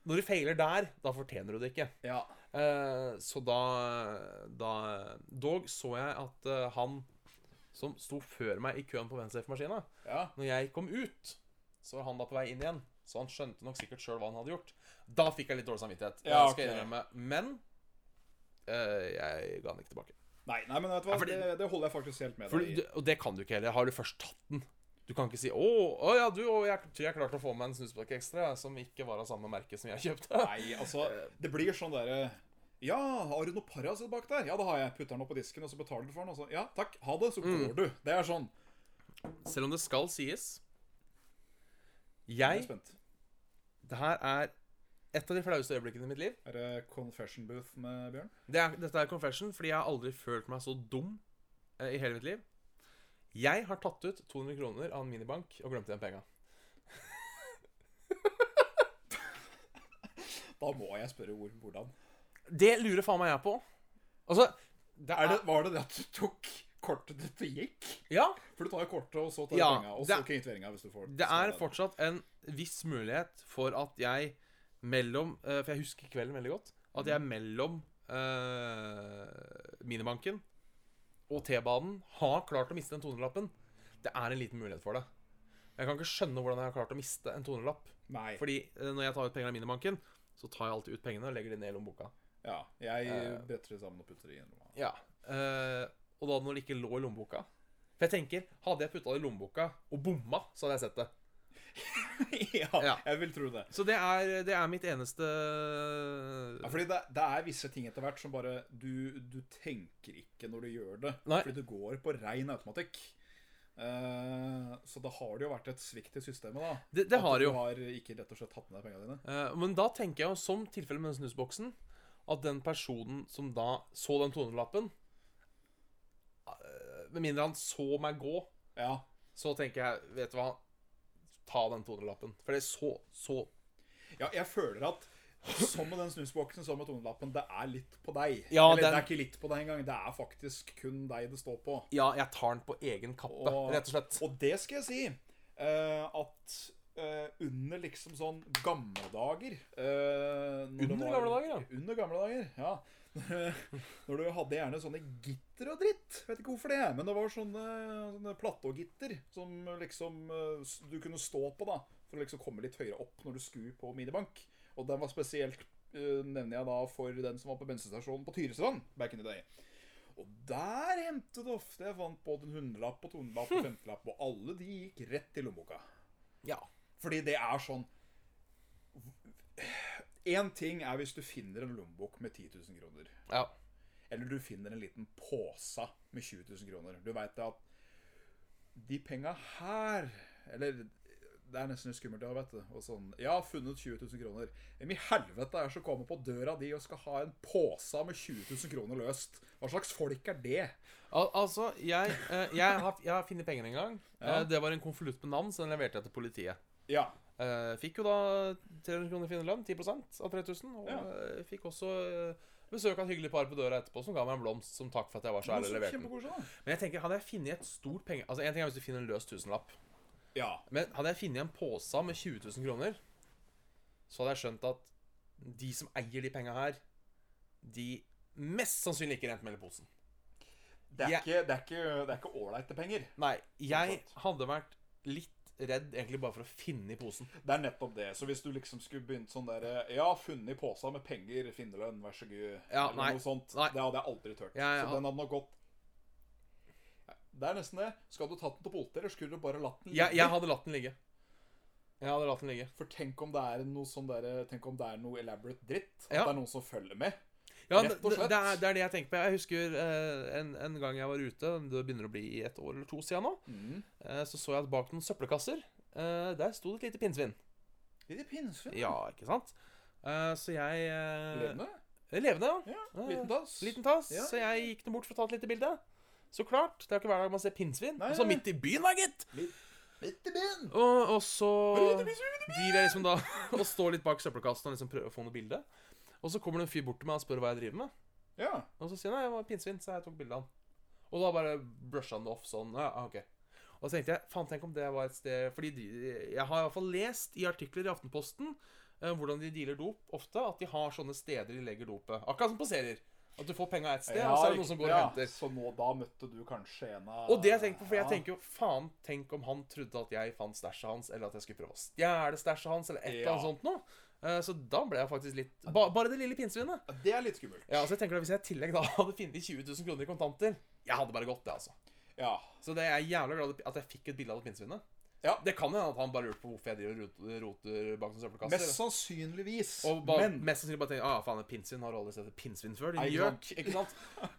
S2: Når du feiler der, da fortjener du det ikke.
S3: Ja.
S2: Eh, så da, da Dog så jeg at eh, han som sto før meg i køen på Vensafe-maskina,
S3: ja.
S2: når jeg kom ut, så var han da på vei inn igjen. Så han skjønte nok sikkert sjøl hva han hadde gjort. Da fikk jeg litt dårlig samvittighet.
S3: Ja,
S2: det skal jeg
S3: ok.
S2: innrømme. Men eh, jeg ga han ikke tilbake.
S3: Nei, nei, men vet du hva,
S2: Ja, fordi-
S3: det, det holder jeg faktisk helt med
S2: For,
S3: deg i.
S2: du, og det kan du ikke heller. Har du først tatt den Du kan ikke si 'Å, å ja, du, å, jeg tror jeg klarte å få meg en snuspakke ekstra som ikke var av samme merke som jeg kjøpte'.
S3: Nei, altså, det blir sånn derre Ja, har du noe Paracet bak der? Ja, det har jeg. Putter den opp på disken, og så betaler du for den. Og så, ja, takk. Ha det. Så
S2: Mm.
S3: går du. Det er sånn.
S2: Selv om det skal sies
S3: Jeg
S2: Jeg
S3: er spent.
S2: Det her er et av de flaueste øyeblikkene i mitt liv.
S3: Er det confession booth med Bjørn?
S2: Det er, dette er confession, fordi jeg har aldri følt meg så dum eh, i hele mitt liv. Jeg har tatt ut 200 kroner av en minibank og glemte igjen penga.
S3: Da må jeg spørre hvor, hvordan.
S2: Det lurer faen meg jeg på. Altså, det
S3: Er det, var det det at du tok kortet ditt og gikk?
S2: Ja.
S3: For du tar jo kortet, og så tar du
S2: Ja,
S3: penga. Og
S2: det
S3: så
S2: er-
S3: kvitteringa, hvis du får
S2: Det
S3: skal
S2: er
S3: være
S2: fortsatt en viss mulighet for at jeg mellom eh, For jeg husker kvelden veldig godt. At jeg mellom eh, minibanken og T-banen har klart å miste den 200-lappen. Det er en liten mulighet for det. Jeg kan ikke skjønne hvordan jeg har klart å miste en 200-lapp.
S3: Nei.
S2: Fordi eh, når jeg tar ut penger av minibanken, så tar jeg alltid ut pengene og legger de ned i lommeboka.
S3: Ja. Jeg
S2: Eh.
S3: bretter det sammen og putter det i en lomma.
S2: Ja. eh, og da når det ikke lå i lommeboka For jeg tenker, hadde jeg putta det i lommeboka og bomma, så hadde jeg sett det.
S3: ja,
S2: Ja.
S3: jeg vil tro det.
S2: Så det er, det er mitt eneste
S3: Ja, fordi det, det er visse ting etter hvert som bare du, du tenker ikke når du gjør det.
S2: Nei.
S3: Fordi du går på rein automatikk. Eh, så da har det jo vært et svikt i systemet, da.
S2: Det- det
S3: At
S2: har det jo.
S3: Du har ikke rett og slett tatt med deg pengene dine.
S2: Eh, Men da tenker jeg jo, som tilfellet med den snusboksen, at den personen som da så den 200-lappen eh, Med mindre han så meg gå,
S3: Ja.
S2: så tenker jeg, vet du hva Ta den 200-lappen. For det er så, så
S3: ja, jeg føler at som med den snusboksen, som med tonelappen, det er litt på deg.
S2: Ja,
S3: Eller det
S2: den-
S3: er ikke litt på deg engang, det er faktisk kun deg det står på.
S2: Ja, jeg tar den på egen kappe,
S3: Og-
S2: rett og slett.
S3: Og det skal jeg si, eh, at eh, under liksom sånn gamle dager eh, når det
S2: Under gamle dager, ja.
S3: Under gamle dager, ja. Når du hadde gjerne sånne gitter og dritt. Vet ikke hvorfor det, men det var sånne, sånne platågitter som liksom eh, s- du kunne stå på, da. For å liksom komme litt høyere opp når du skulle på minibank. Og den var spesielt, eh, nevner jeg da, for den som var på bensinstasjonen på Tyrestrand back in the day. Og der hendte det ofte jeg fant både en hundrelapp og tonelapp og femtelapp, og alle de gikk rett i lommeboka.
S2: Ja.
S3: Fordi det er sånn Én ting er hvis du finner en lommebok med 10 000 kroner.
S2: ja.
S3: Eller du finner en liten pose med 20 000 kroner. Du veit at de penga her Eller det er nesten litt skummelt, ja, vet du. Og sånn, jeg har funnet 20 000 kroner. Hvem i helvete er det som kommer på døra di og skal ha en pose med 20 000 kroner løst? Hva slags folk er det?
S2: Al altså, jeg, eh, jeg har, jeg har funnet pengene en gang.
S3: Ja.
S2: Eh, Det var en konvolutt med navn, så den leverte jeg til politiet.
S3: Ja.
S2: Eh, fikk jo da 300 kroner i finnerlønn, 10 av 3000. Og
S3: Ja.
S2: eh, fikk også eh, besøk av et hyggelig par på døra etterpå som ga meg en blomst som takk for at jeg var så ærlig og leverte den.
S3: Kjempekoselig, da.
S2: Men jeg tenker, hadde jeg funnet et stort penge... Altså, en ting er hvis du finner en løs tusenlapp.
S3: Ja.
S2: Men hadde jeg funnet en pose med 20 000 kroner, så hadde jeg skjønt at de som eier de penga her, de mest sannsynlig ikke rent melder posen.
S3: Det er
S2: Jeg-
S3: ikke- det er ikke- det er ikke ålreite penger.
S2: Nei, jeg
S3: Sant.
S2: hadde vært litt redd egentlig bare for å finne i posen.
S3: Det er nettopp det. Så hvis du liksom skulle begynt sånn derre Ja, funnet i posa med penger, finnerlønn, vær så god.
S2: Ja,
S3: eller
S2: nei,
S3: noe sånt.
S2: nei.
S3: Det hadde jeg aldri turt.
S2: Ja, ja.
S3: Så den hadde nok gått Det er nesten det. Skal du tatt den til politiet, eller skulle du bare latt den
S2: Jeg, jeg hadde latt den ligge. Jeg hadde latt den ligge.
S3: For tenk om det er noe sånn derre Tenk om det er noe elaborate dritt. At
S2: Ja.
S3: det er noen som følger med.
S2: Ja,
S3: Rett
S2: det,
S3: og
S2: det,
S3: slett.
S2: det er, det er det jeg tenker på. Jeg husker eh, en, en gang jeg var ute, det begynner å bli et år eller to siden nå,
S3: Mm.
S2: eh, så så jeg at bak noen søppelkasser, eh, der sto det et lite pinnsvin.
S3: Litt i pinnsvin.
S2: Ja, ikke sant? Eh, så jeg eh,
S3: Levende?
S2: eh, Levende, ja.
S3: Ja.
S2: Ja,
S3: Liten tass.
S2: Liten tass.
S3: Ja.
S2: Så jeg gikk nå bort for å ta et lite bilde. Så klart. Det er ikke hver dag man ser pinnsvin.
S3: Nei,
S2: Og så
S3: nei.
S2: midt i byen, da, gitt!
S3: Litt i ben.
S2: Og, og så
S3: Litt i pinnsvin.
S2: driver jeg liksom da og står litt bak søppelkassen og liksom prøver å få noe bilde. Og så kommer det en fyr bort til meg og spør hva jeg driver med.
S3: Ja.
S2: Og så sier han nei, jeg var pinnsvin, så jeg tok bilde av han. Og da bare brusha han det off sånn. Ja, ah, ok. Og så tenkte jeg, faen, tenk om det var et sted Fordi de, jeg har i hvert fall lest i artikler i Aftenposten eh, hvordan de dealer dop ofte, at de har sånne steder de legger dopet. Akkurat som på serier. At du får penga ett sted, og så er det noen som går
S3: ja,
S2: og henter.
S3: Så nå, da møtte du kanskje en av
S2: Og det jeg tenker på, for jeg
S3: Ja.
S2: tenker jo faen, tenk om han trodde at jeg fant stæsjet hans, eller at jeg skulle prøve å stjele stæsjet hans, eller et eller annet
S3: Ja.
S2: sånt noe. Eh, Så da ble jeg faktisk litt ba, Bare det lille pinnsvinet.
S3: Ja, Det er litt skummelt.
S2: Ja, så jeg tenker da, Hvis jeg i tillegg da hadde funnet 20 000 kroner i kontanter Jeg hadde bare gått, det, altså.
S3: Ja.
S2: Så det er jeg jævla glad at jeg fikk et bilde av det pinnsvinet.
S3: Ja.
S2: Det kan hende at han bare lurte på hvorfor jeg driver og rot- roter bak noen søppelkasser.
S3: Mest sannsynligvis.
S2: Og bare,
S3: men,
S2: mest sannsynlig bare tenker ah, faen, pinnsvin har aldri sett et pinnsvin før.
S3: Nei,
S2: Din
S3: ikke
S2: gjøk. Ikke sant?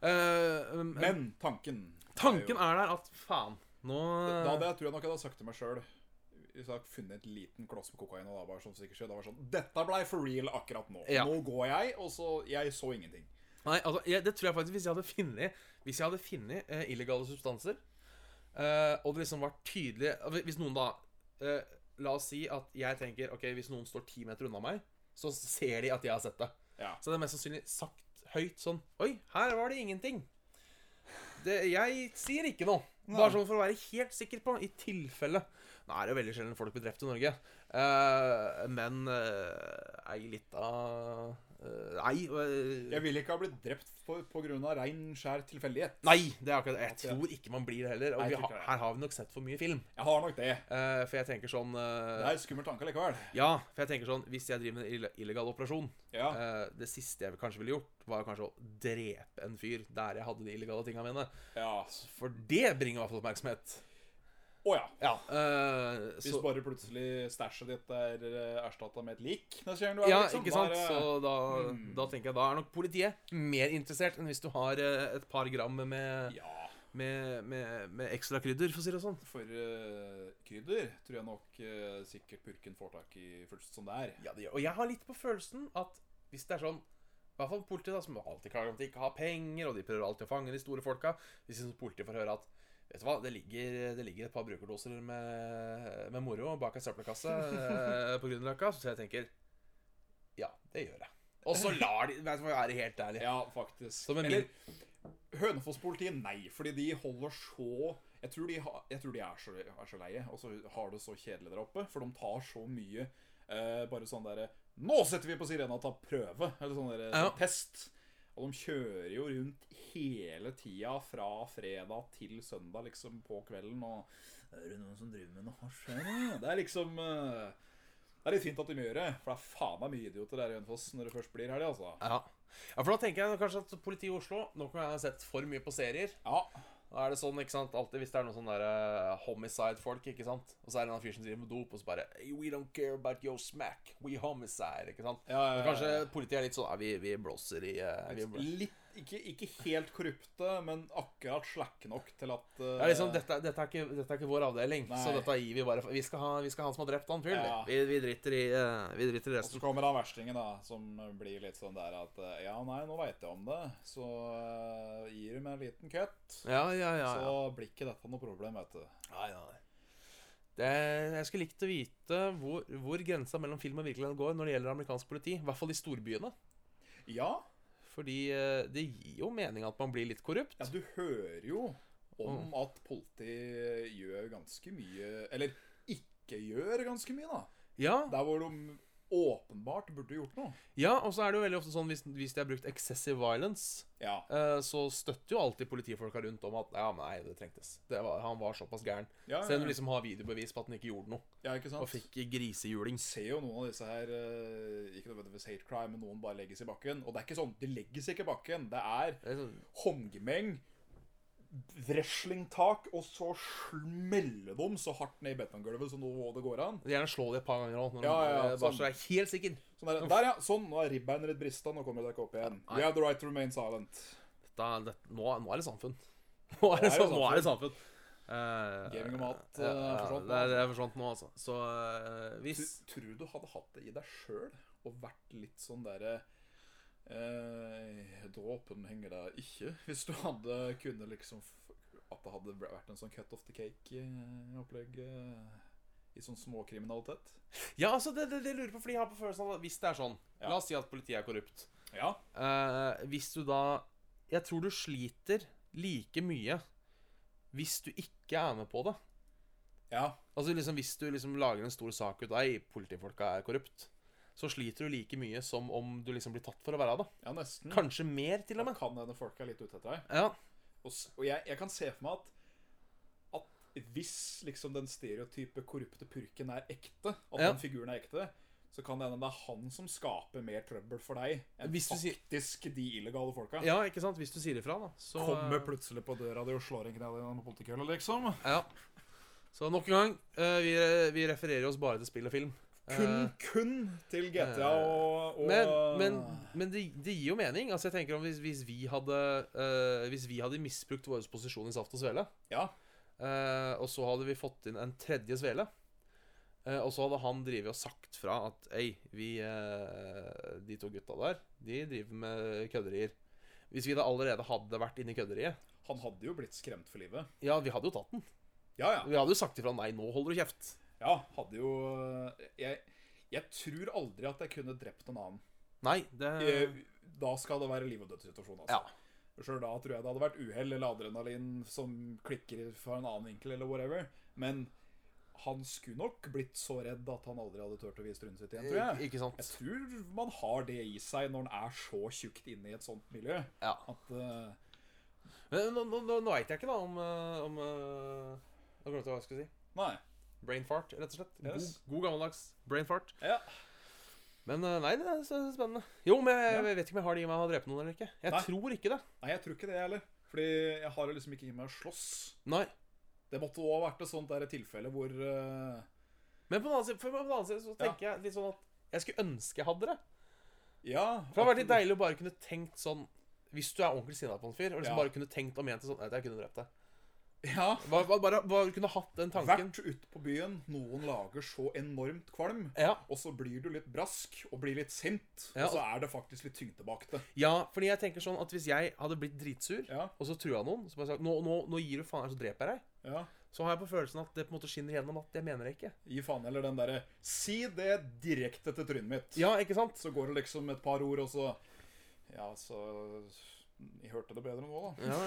S2: Eh, um,
S3: men tanken
S2: tanken
S3: er jo-
S2: er der at faen, nå
S3: Da hadde jeg tror jeg nok jeg hadde sagt til meg sjøl Hvis jeg hadde funnet en liten kloss med kokain og da bare sånn som ikke skjer, da var det sånn Dette blei for real akkurat nå.
S2: Ja.
S3: Nå går jeg, og så Jeg så ingenting.
S2: Nei, altså, jeg, det tror jeg faktisk hvis jeg hadde finnet Hvis jeg hadde finnet eh, illegale substanser eh, Og det liksom var tydelig altså, Hvis noen da eh, La oss si at jeg tenker Ok, hvis noen står ti meter unna meg Så ser de at jeg har sett det
S3: Ja.
S2: Så det er mest sannsynlig sagt høyt sånn Oi, her var det ingenting det, Jeg sier ikke noe Bare sånn for å være helt sikker på I tilfelle Nå er det jo veldig sjelden folk blir drept i Norge eh, Men eh, Ei litt av eh, Nei eh,
S3: Jeg ville ikke ha blitt drept på, på grunn av rein, skjær tilfeldighet.
S2: Nei, det er akkurat det. Jeg
S3: Ja.
S2: tror ikke man blir det heller. Og
S3: Nei,
S2: vi
S3: jeg tror
S2: har,
S3: ikke det.
S2: her har vi nok sett for mye film.
S3: Jeg har nok det.
S2: Eh, for jeg tenker sånn
S3: Det
S2: eh,
S3: er en skummel tanke likevel.
S2: Ja, for jeg tenker sånn Hvis jeg driver med en ille- illegal operasjon
S3: Ja.
S2: eh, Det siste jeg kanskje ville gjort, var kanskje å drepe en fyr der jeg hadde de illegale tinga mine.
S3: ja.
S2: For det bringer i hvert fall oppmerksomhet.
S3: Å ja.
S2: Ja. eh,
S3: Hvis
S2: så,
S3: bare plutselig stæsjet ditt er erstatta med et lik neste gang du er
S2: ja,
S3: liksom, Hmm.
S2: ikke
S3: da er
S2: sant?
S3: det-
S2: Så da, da tenker jeg da er nok politiet mer interessert enn hvis du har eh, et par gram med,
S3: Ja.
S2: med, med, med ekstra krydder, for å si det sånn.
S3: For eh, krydder tror jeg nok eh, sikkert purken får tak i først som det er.
S2: Ja, det gjør Og jeg har litt på følelsen at hvis det er sånn I hvert fall politiet, da, som alltid klager om at de ikke har penger, og de prøver alltid å fange de store folka Hvis liksom politiet får høre at Vet du hva, det ligger, det ligger et par brukerdoser med, med moro bak ei søppelkasse eh, på Grünerløkka, så jeg tenker Ja, det gjør jeg. Og så lar de Vet du hva, jeg er helt ærlig.
S3: Ja, faktisk.
S2: Som en
S3: Eller Hønefoss-politiet, nei. Fordi de holder så Jeg tror de, har, jeg tror de er, så, er så leie, og så har det så kjedelig der oppe. For de tar så mye eh, bare sånn derre Nå setter vi på sirena og tar prøve! Eller sånn derre
S2: Ja.
S3: test. Og de kjører jo rundt hele tida fra fredag til søndag, liksom, på kvelden og Er det noen som driver med noe hasj her, da?» Det er liksom eh, det er litt fint at de gjør det, for det er faen meg mye idioter der i Hønefoss når det først blir helg, altså.
S2: Ja. ja, for da tenker jeg kanskje at politiet i Oslo Nå kan jeg ha sett for mye på serier.
S3: Ja,
S2: Da er det sånn, ikke sant, alltid hvis det er noen sånne der, eh, homicide-folk, ikke sant Og så er det en annen fyr som driver med dop, og så bare hey, We don't care about your smack, we homicide, ikke sant
S3: Ja, ja, ja,
S2: Men Kanskje
S3: ja.
S2: politiet er litt sånn, ja, vi, vi blåser i eh, vi blå-
S3: Litt, ikke, ikke helt korrupte, men akkurat slakke nok til at eh,
S2: Det er liksom, dette, dette, er ikke, dette er ikke vår avdeling, så
S3: Nei.
S2: dette gir vi bare Vi skal ha, vi skal ha han som har drept han fyren,
S3: Ja.
S2: vi, vi, driter i, eh, vi driter i
S3: Og så
S2: resten
S3: kommer da verstingen, da, som blir litt sånn der at eh, Ja, nei, nå veit jeg om det, så eh, gir du meg en liten cut.
S2: Ja, ja, ja, ja.
S3: Så blir ikke dette noe problem, vet du.
S2: Nei, nei, nei. Det, jeg skulle likt å vite hvor, hvor grensa mellom film og virkelighet går når det gjelder amerikansk politi. I hvert fall i storbyene.
S3: Ja,
S2: Fordi eh, det gir jo mening at man blir litt korrupt.
S3: ja du hører jo
S2: Mm.
S3: om at politiet gjør ganske mye Eller ikke gjør ganske mye, da.
S2: Ja,
S3: Der hvor de åpenbart burde gjort noe.
S2: ja og så er det jo veldig ofte sånn hvis, hvis de har brukt excessive violence,
S3: Ja.
S2: eh, så støtter jo alltid politifolka rundt om at ja, men nei, det trengtes. Det var, han var såpass gæren.
S3: Ja, ja,
S2: Selv om
S3: ja.
S2: du liksom har videobevis på at han ikke gjorde noe,
S3: ja, ikke sant?
S2: og fikk grisehjuling.
S3: ser jo noen av disse her eh, Ikke nødvendigvis hate crime, men noen bare legges i bakken. Og det er ikke sånn. De legges ikke i bakken. Det er
S2: Det er sånn-
S3: håndgemeng, wrestlingtak, og så smeller de så hardt ned i betonggulvet som noe det går an.
S2: Gjerne slå det et par ganger òg, når
S3: Ja,
S2: man,
S3: ja, ja,
S2: eh, bare
S3: sånn.
S2: så er helt sikker.
S3: Sånn der, der, ja. Sånn. Nå er ribbeinet ditt brista. Nå kommer dere ikke opp igjen. We have the right to remain silent.
S2: Da, det, nå, nå er det samfunn. Nå er det,
S3: Nå er det
S2: sam- nå er det samfunn. Eh,
S3: Gaming og mat, eh,
S2: ja, ja,
S3: forsvant nå,
S2: det, er-
S3: altså.
S2: det er forsvant nå, altså. Så eh,
S3: Du,
S2: hvis
S3: tror du hadde hatt det i deg sjøl og vært litt sånn derre eh, Dråpen henger deg ikke. Hvis du hadde kunne liksom f- At det hadde vært en sånn cut off the cake-opplegg i sånn småkriminalitet.
S2: Ja, altså, det, det, det lurer jeg på, fordi jeg har på følelsen av at hvis det er sånn
S3: Ja.
S2: La oss si at politiet er korrupt.
S3: Ja.
S2: Eh, hvis du da Jeg tror du sliter like mye hvis du ikke er med på det.
S3: ja.
S2: Altså liksom Hvis du liksom lager en stor sak ut av ei, politifolka er korrupt, så sliter du like mye som om du liksom blir tatt for å være det.
S3: Ja, nesten.
S2: Kanskje mer, til og
S3: Da
S2: med.
S3: kan hende folk er litt ute etter deg.
S2: Ja,
S3: Og, s- og jeg, jeg kan se for meg at At hvis liksom den stereotype korrupte purken er ekte, at
S2: Ja.
S3: den figuren er ekte, så kan det hende det er han som skaper mer trøbbel for deg enn
S2: Hvis du sier-
S3: faktisk de illegale folka.
S2: ja, ikke sant? Hvis du sier ifra, da. Så
S3: Kommer plutselig på døra di og slår en knall i den politikølla, liksom.
S2: Ja. Så nok en gang, eh, vi, vi refererer oss bare til spill og film.
S3: Kun,
S2: Eh,
S3: kun til GTA og, og
S2: men men, men det, det gir jo mening. Altså jeg tenker om Hvis, hvis, vi, hadde, eh, hvis vi hadde misbrukt vår posisjon i Saft og Svele,
S3: Ja.
S2: eh, og så hadde vi fått inn en tredje svele, eh, og så hadde han drevet og sagt fra at Ei, vi, eh, de to gutta der, de driver med kødderier. Hvis vi da allerede hadde vært inne i kødderiet
S3: Han hadde jo blitt skremt for livet.
S2: Ja, vi hadde jo tatt den.
S3: Ja, ja.
S2: Vi hadde jo sagt ifra. Nei, nå holder du kjeft.
S3: Ja, hadde jo Jeg, jeg tror aldri at jeg kunne drept en annen.
S2: Nei, det
S3: Eh, Da skal det være liv og død-situasjon, altså.
S2: Ja.
S3: Sjøl da tror jeg det hadde vært uhell eller adrenalin som klikker fra en annen vinkel, eller whatever. Men han skulle nok blitt så redd at han aldri hadde turt å vise trynet sitt igjen, tror jeg.
S2: Ikke sant?
S3: Jeg tror man har det i seg når en er så tjukt inne i et sånt miljø.
S2: Ja.
S3: At eh,
S2: Men nå, nå, nå, nå veit jeg ikke, da, om, eh, om eh, Nå glemte jeg hva jeg skulle si.
S3: Nei.
S2: Brain fart, rett og slett. God,
S3: Yes.
S2: god gammeldags brain fart.
S3: Ja.
S2: Men eh, nei, det er så spennende. Jo, men jeg,
S3: Ja.
S2: jeg vet ikke om jeg har det i meg å drepe noen eller ikke. Jeg
S3: Nei.
S2: tror ikke det.
S3: Nei, jeg tror ikke det, jeg heller. Fordi jeg har jo liksom ikke i meg å slåss.
S2: Nei.
S3: Det måtte òg ha vært et sånt der tilfelle hvor eh,
S2: Men på den annen side, for på den annen side så
S3: Ja.
S2: tenker jeg litt sånn at jeg skulle ønske jeg hadde det.
S3: Ja.
S2: For det hadde vært
S3: at-
S2: litt deilig å bare kunne tenkt sånn Hvis du er ordentlig sinna på en fyr, og liksom
S3: Ja.
S2: bare kunne tenkt og ment det sånn Nei, jeg kunne drept deg.
S3: Ja.
S2: Bare, bare, bare, bare kunne hatt den tanken.
S3: Vært ute på byen, noen lager så enormt kvalm,
S2: Ja.
S3: og så blir du litt brask og blir litt sint,
S2: Ja.
S3: og så er det faktisk litt tyngde bak det.
S2: ja, fordi jeg tenker sånn at hvis jeg hadde blitt dritsur,
S3: Ja,
S2: og så trua noen, så bare sagt nå, nå, nå gir du faen her, så dreper jeg deg.
S3: ja.
S2: så har jeg på følelsen at det på en måte skinner gjennom at jeg mener det ikke.
S3: Gi faen eller den derre Si det direkte til trynet mitt.
S2: Ja, ikke sant?
S3: Så går det liksom et par ord, og så Ja, så Jeg hørte det bedre nå, da.
S2: Ja.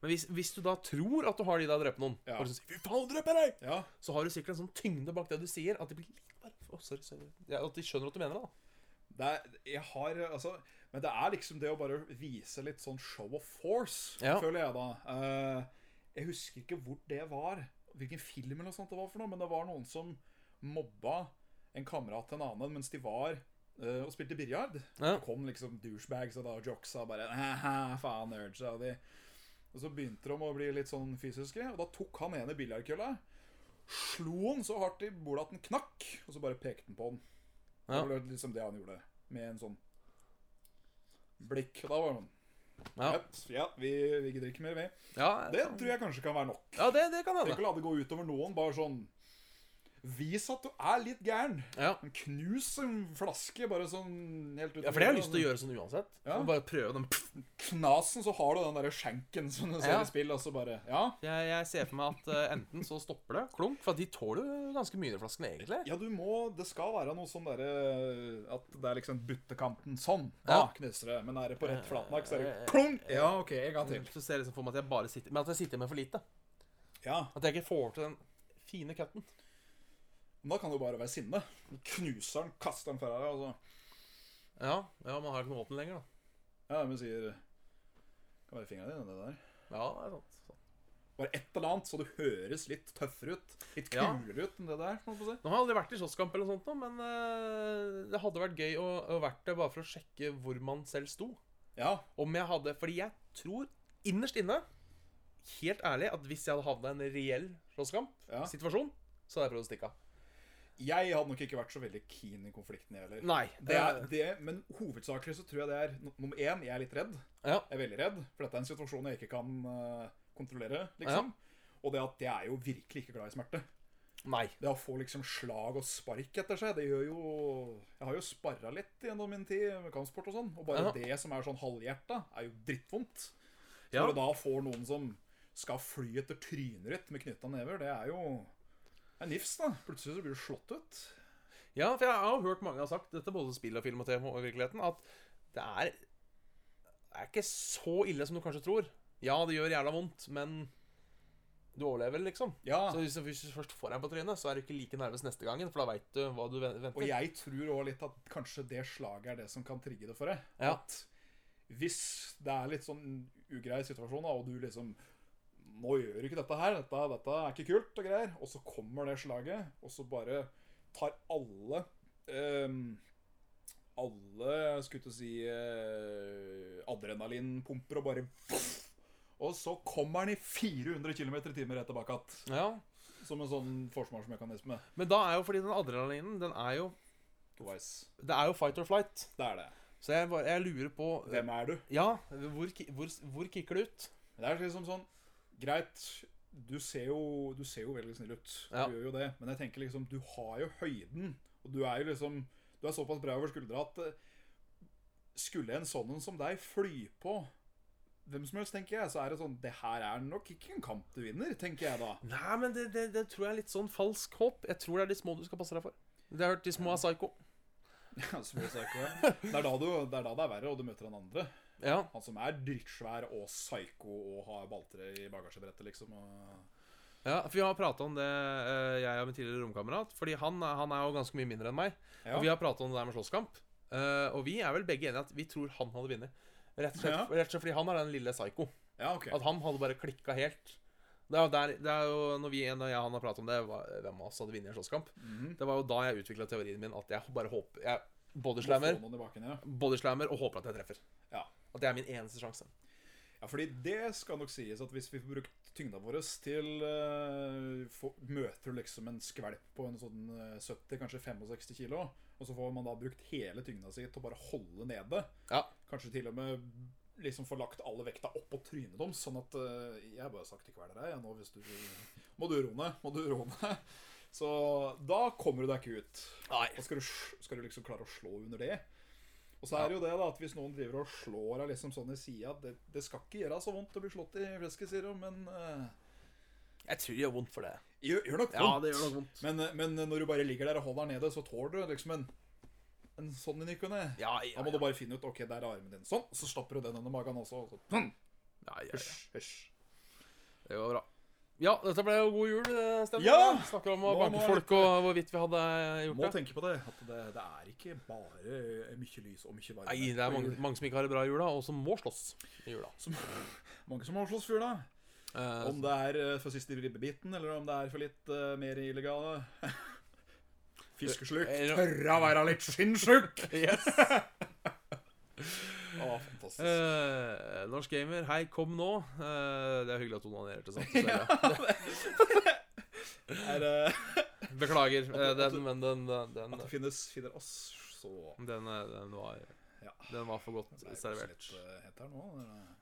S2: Men hvis, hvis du da tror at du har de der drept noen,
S3: Ja.
S2: og du sier 'fy faen, drep jeg deg',
S3: Ja.
S2: så har du sikkert en sånn tyngde bak det du sier, at de blir litt bare Å, sorry, sorry. Ja, at de skjønner at du mener det, da.
S3: Det er, jeg har Altså Men det er liksom det å bare vise litt sånn show of force,
S2: Ja.
S3: føler jeg da. Eh, jeg husker ikke hvor det var, hvilken film eller noe sånt det var for noe, men det var noen som mobba en kamerat til en annen mens de var eh, og spilte biljard.
S2: Ja.
S3: Så kom liksom douchebags og da jocksa bare «Haha, faen, urge, og de Og så begynte de å bli litt sånn fysiske, og da tok han ene biljardkølla. Slo han så hardt i bordet at den knakk, og så bare pekte han på den.
S2: Ja.
S3: Det var liksom det han gjorde, med en sånn blikk. Og da var han
S2: Ja,
S3: Ja, ja vi, vi gidder ikke mer, vi.
S2: ja,
S3: Det tror jeg kanskje kan være nok.
S2: ja det, det kan
S3: Tenk
S2: hende.
S3: å la det gå utover noen, bare sånn Vis at du er litt gæren.
S2: Ja.
S3: Knus en flaske, bare sånn helt utover.
S2: ja, for det har jeg lyst til å gjøre sånn uansett.
S3: Ja.
S2: Og Bare prøve den. Pff.
S3: Knasen, så har du den derre skjenken som du ser
S2: Ja.
S3: i spill, og så bare Ja.
S2: Jeg, jeg ser for meg at eh, enten så stopper det, klunk, for at de tåler jo ganske mye, de flaskene, egentlig.
S3: Ja, du må Det skal være noe sånn derre At det er liksom buttekanten sånn. Da
S2: Ja. Eh,
S3: knuser det. Men er det på rett flatmark, så er det klunk! Ja, OK, en gang til.
S2: Så ser jeg liksom for meg at jeg bare sitter Men at jeg sitter med for lite.
S3: Ja.
S2: At jeg ikke får til den fine cutten.
S3: Men da kan det jo bare være sinne. Knuser den, kaster den fra deg, altså. og så
S2: Ja, ja, man har ikke noe våpen lenger, da.
S3: Ja, men sier Kan være fingrene dine, det der.
S2: Ja, det er sant. sant.
S3: Bare et eller annet, så du høres litt tøffere ut. Litt
S2: Ja.
S3: kulere ut enn det der. Må jeg få si.
S2: Nå har jeg aldri vært i slåsskamp eller noe sånt, nå, men eh, det hadde vært gøy å, å vært det bare for å sjekke hvor man selv sto.
S3: Ja.
S2: Om jeg hadde Fordi jeg tror innerst inne, helt ærlig, at hvis jeg hadde havna i en reell
S3: Ja.
S2: slåsskamp-situasjon, så hadde jeg prøvd å stikke av.
S3: Jeg hadde nok ikke vært så veldig keen i konflikten, jeg heller.
S2: Nei.
S3: Det er, det, men hovedsakelig så tror jeg det er no- nummer én, jeg er litt redd.
S2: Eh, Ja.
S3: Jeg er veldig redd, for dette er en situasjon jeg ikke kan eh, kontrollere, liksom. Og det at jeg er jo virkelig ikke glad i smerte.
S2: Nei.
S3: Det å få liksom slag og spark etter seg, det gjør jo Jeg har jo sparra litt gjennom min tid med kampsport og sånn, og bare
S2: Ja.
S3: det som er sånn halvhjerta, er jo drittvondt. Så
S2: Ja.
S3: Når du da får noen som skal fly etter trynet ditt med knytta never, det er jo det er nifs, da. Plutselig så blir du slått ut.
S2: Ja, for jeg har jo hørt mange har sagt, dette både spill og film og TV og i virkeligheten, at det er, det er ikke så ille som du kanskje tror. Ja, det gjør jævla vondt, men du overlever, liksom.
S3: Ja.
S2: Så hvis, hvis du først får deg på trynet, så er du ikke like nervøs neste gangen, for da veit du hva du ven-
S3: Og
S2: venter.
S3: jeg tror òg litt at kanskje det slaget er det som kan trigge det for deg.
S2: Ja.
S3: At hvis det er litt sånn ugrei situasjon, da, og du liksom Nå gjør du ikke dette her, dette, dette er ikke kult og greier. Og så kommer det slaget, og så bare tar alle ehm, Alle, skulle jeg til å si, eh, adrenalinpumper og bare Og så kommer den i 400 km i timen rett tilbake igjen.
S2: Ja.
S3: som en sånn forsvarsmekanisme.
S2: Men da er jo fordi den adrenalinen, den er jo
S3: Twice.
S2: Det er jo fight or flight.
S3: Det er det.
S2: Så jeg, bare, jeg lurer på
S3: Hvem er du?
S2: Ja, hvor, ki- hvor, hvor kicker det ut?
S3: Det er liksom sånn Greit, du ser jo, du ser jo veldig snill ut. Du
S2: Ja.
S3: gjør jo det. Men jeg tenker liksom, du har jo høyden. Og du er jo liksom Du er såpass bred over skuldra at eh, skulle en sånn en som deg fly på hvem som helst, tenker jeg, så er det sånn Det her er nok ikke en kamp du vinner, tenker jeg da.
S2: Nei, men det, det, det tror jeg er litt sånn falsk håp. Jeg tror det er de små du skal passe deg for. Det har jeg hørt, de små er psycho.
S3: Ja, så må jeg snakke om det. Det er da du, det er da det er verre, og du møter han andre.
S2: Ja.
S3: Han som er drittsvær og psyko og har baltre i bagasjebrettet, liksom. Og...
S2: ja for vi har prata om det, eh, jeg og min tidligere romkamerat. Fordi han, er- han er jo ganske mye mindre enn meg.
S3: Ja.
S2: Og vi har prata om det der med slåsskamp. Eh, og vi er vel begge enige at vi tror han hadde vunnet. Rett og slett,
S3: Ja.
S2: rett og slett fordi han er den lille psycho.
S3: ja, ok.
S2: At han hadde bare klikka helt. Det er, jo der, det er jo når vi når jeg og han har pratet om det, hva- hvem av oss hadde vunnet en slåsskamp.
S3: Mhm.
S2: Det var jo da jeg utvikla teorien min at jeg bare håper Jeg
S3: Må få
S2: bodyslammer,
S3: noen i baken, ja.
S2: bodyslammer og håper at jeg treffer.
S3: Ja.
S2: At det er min eneste sjanse.
S3: ja, fordi det skal nok sies at hvis vi får brukt tyngda vår til eh, få- Møter du liksom en skvelp på en sånn eh, 70, kanskje 65 kilo, og så får man da brukt hele tyngda si til å bare holde nede.
S2: Ja.
S3: Kanskje til og med liksom få lagt alle vekta opp på trynet deres, sånn at eh, Jeg har bare sagt til hver dere, jeg nå hvis du Må du roe ned, må du roe ned. Så da kommer du deg ikke ut.
S2: Nei.
S3: Og skal du, sj- skal du liksom klare å slå under det? Og så er det jo det da, at hvis noen driver og slår deg liksom sånn i sida det, det skal ikke gjøre så vondt å bli slått i flesket, sier de, men eh,
S2: Jeg tror det gjør vondt for det.
S3: gjør, gjør nok vondt.
S2: Ja, det gjør nok vondt.
S3: Men, eh, men når du bare ligger der og holder deg nede, så tåler du liksom en, en sånn i ny og ne.
S2: Ja,
S3: Da
S2: ja,
S3: må
S2: ja.
S3: du bare finne ut Ok, der er armen din. Sånn. Så stopper du den under magen også. Og så, pum,
S2: ja, ja, ja.
S3: hysj, hysj.
S2: Det var bra. Ja, dette ble jo god jul, eh, Stefan.
S3: Ja!
S2: Snakker om å
S3: Nå må
S2: banke
S3: jeg
S2: folk
S3: litt- eh,
S2: og hvorvidt vi hadde eh, gjort
S3: Må
S2: det.
S3: tenke på det. At det, det er ikke bare eh, mye lys og mye varme.
S2: Nei, det er mange, mange som ikke har det bra i jula, og som må slåss i jula.
S3: Som, mange som har slåss fyr, da.
S2: Eh,
S3: Om det er eh, for siste ribbebiten, eller om det er for litt eh, mer illegale Fiskesluk.
S2: Eh,
S3: Tørra være litt skinnsjuk!
S2: Yes.
S3: Å, fantastisk.
S2: Eh, norsk gamer, hei, kom nå. Eh, det er hyggelig at du onanerte samtidig.
S3: er, eh,
S2: Beklager, eh,
S3: At du- at
S2: den, men den den, den,
S3: at det finnes finner oss så
S2: den, eh, den, var,
S3: Ja.
S2: den var for godt
S3: Det er kanskje
S2: servert.
S3: litt eh, hett her nå. eller?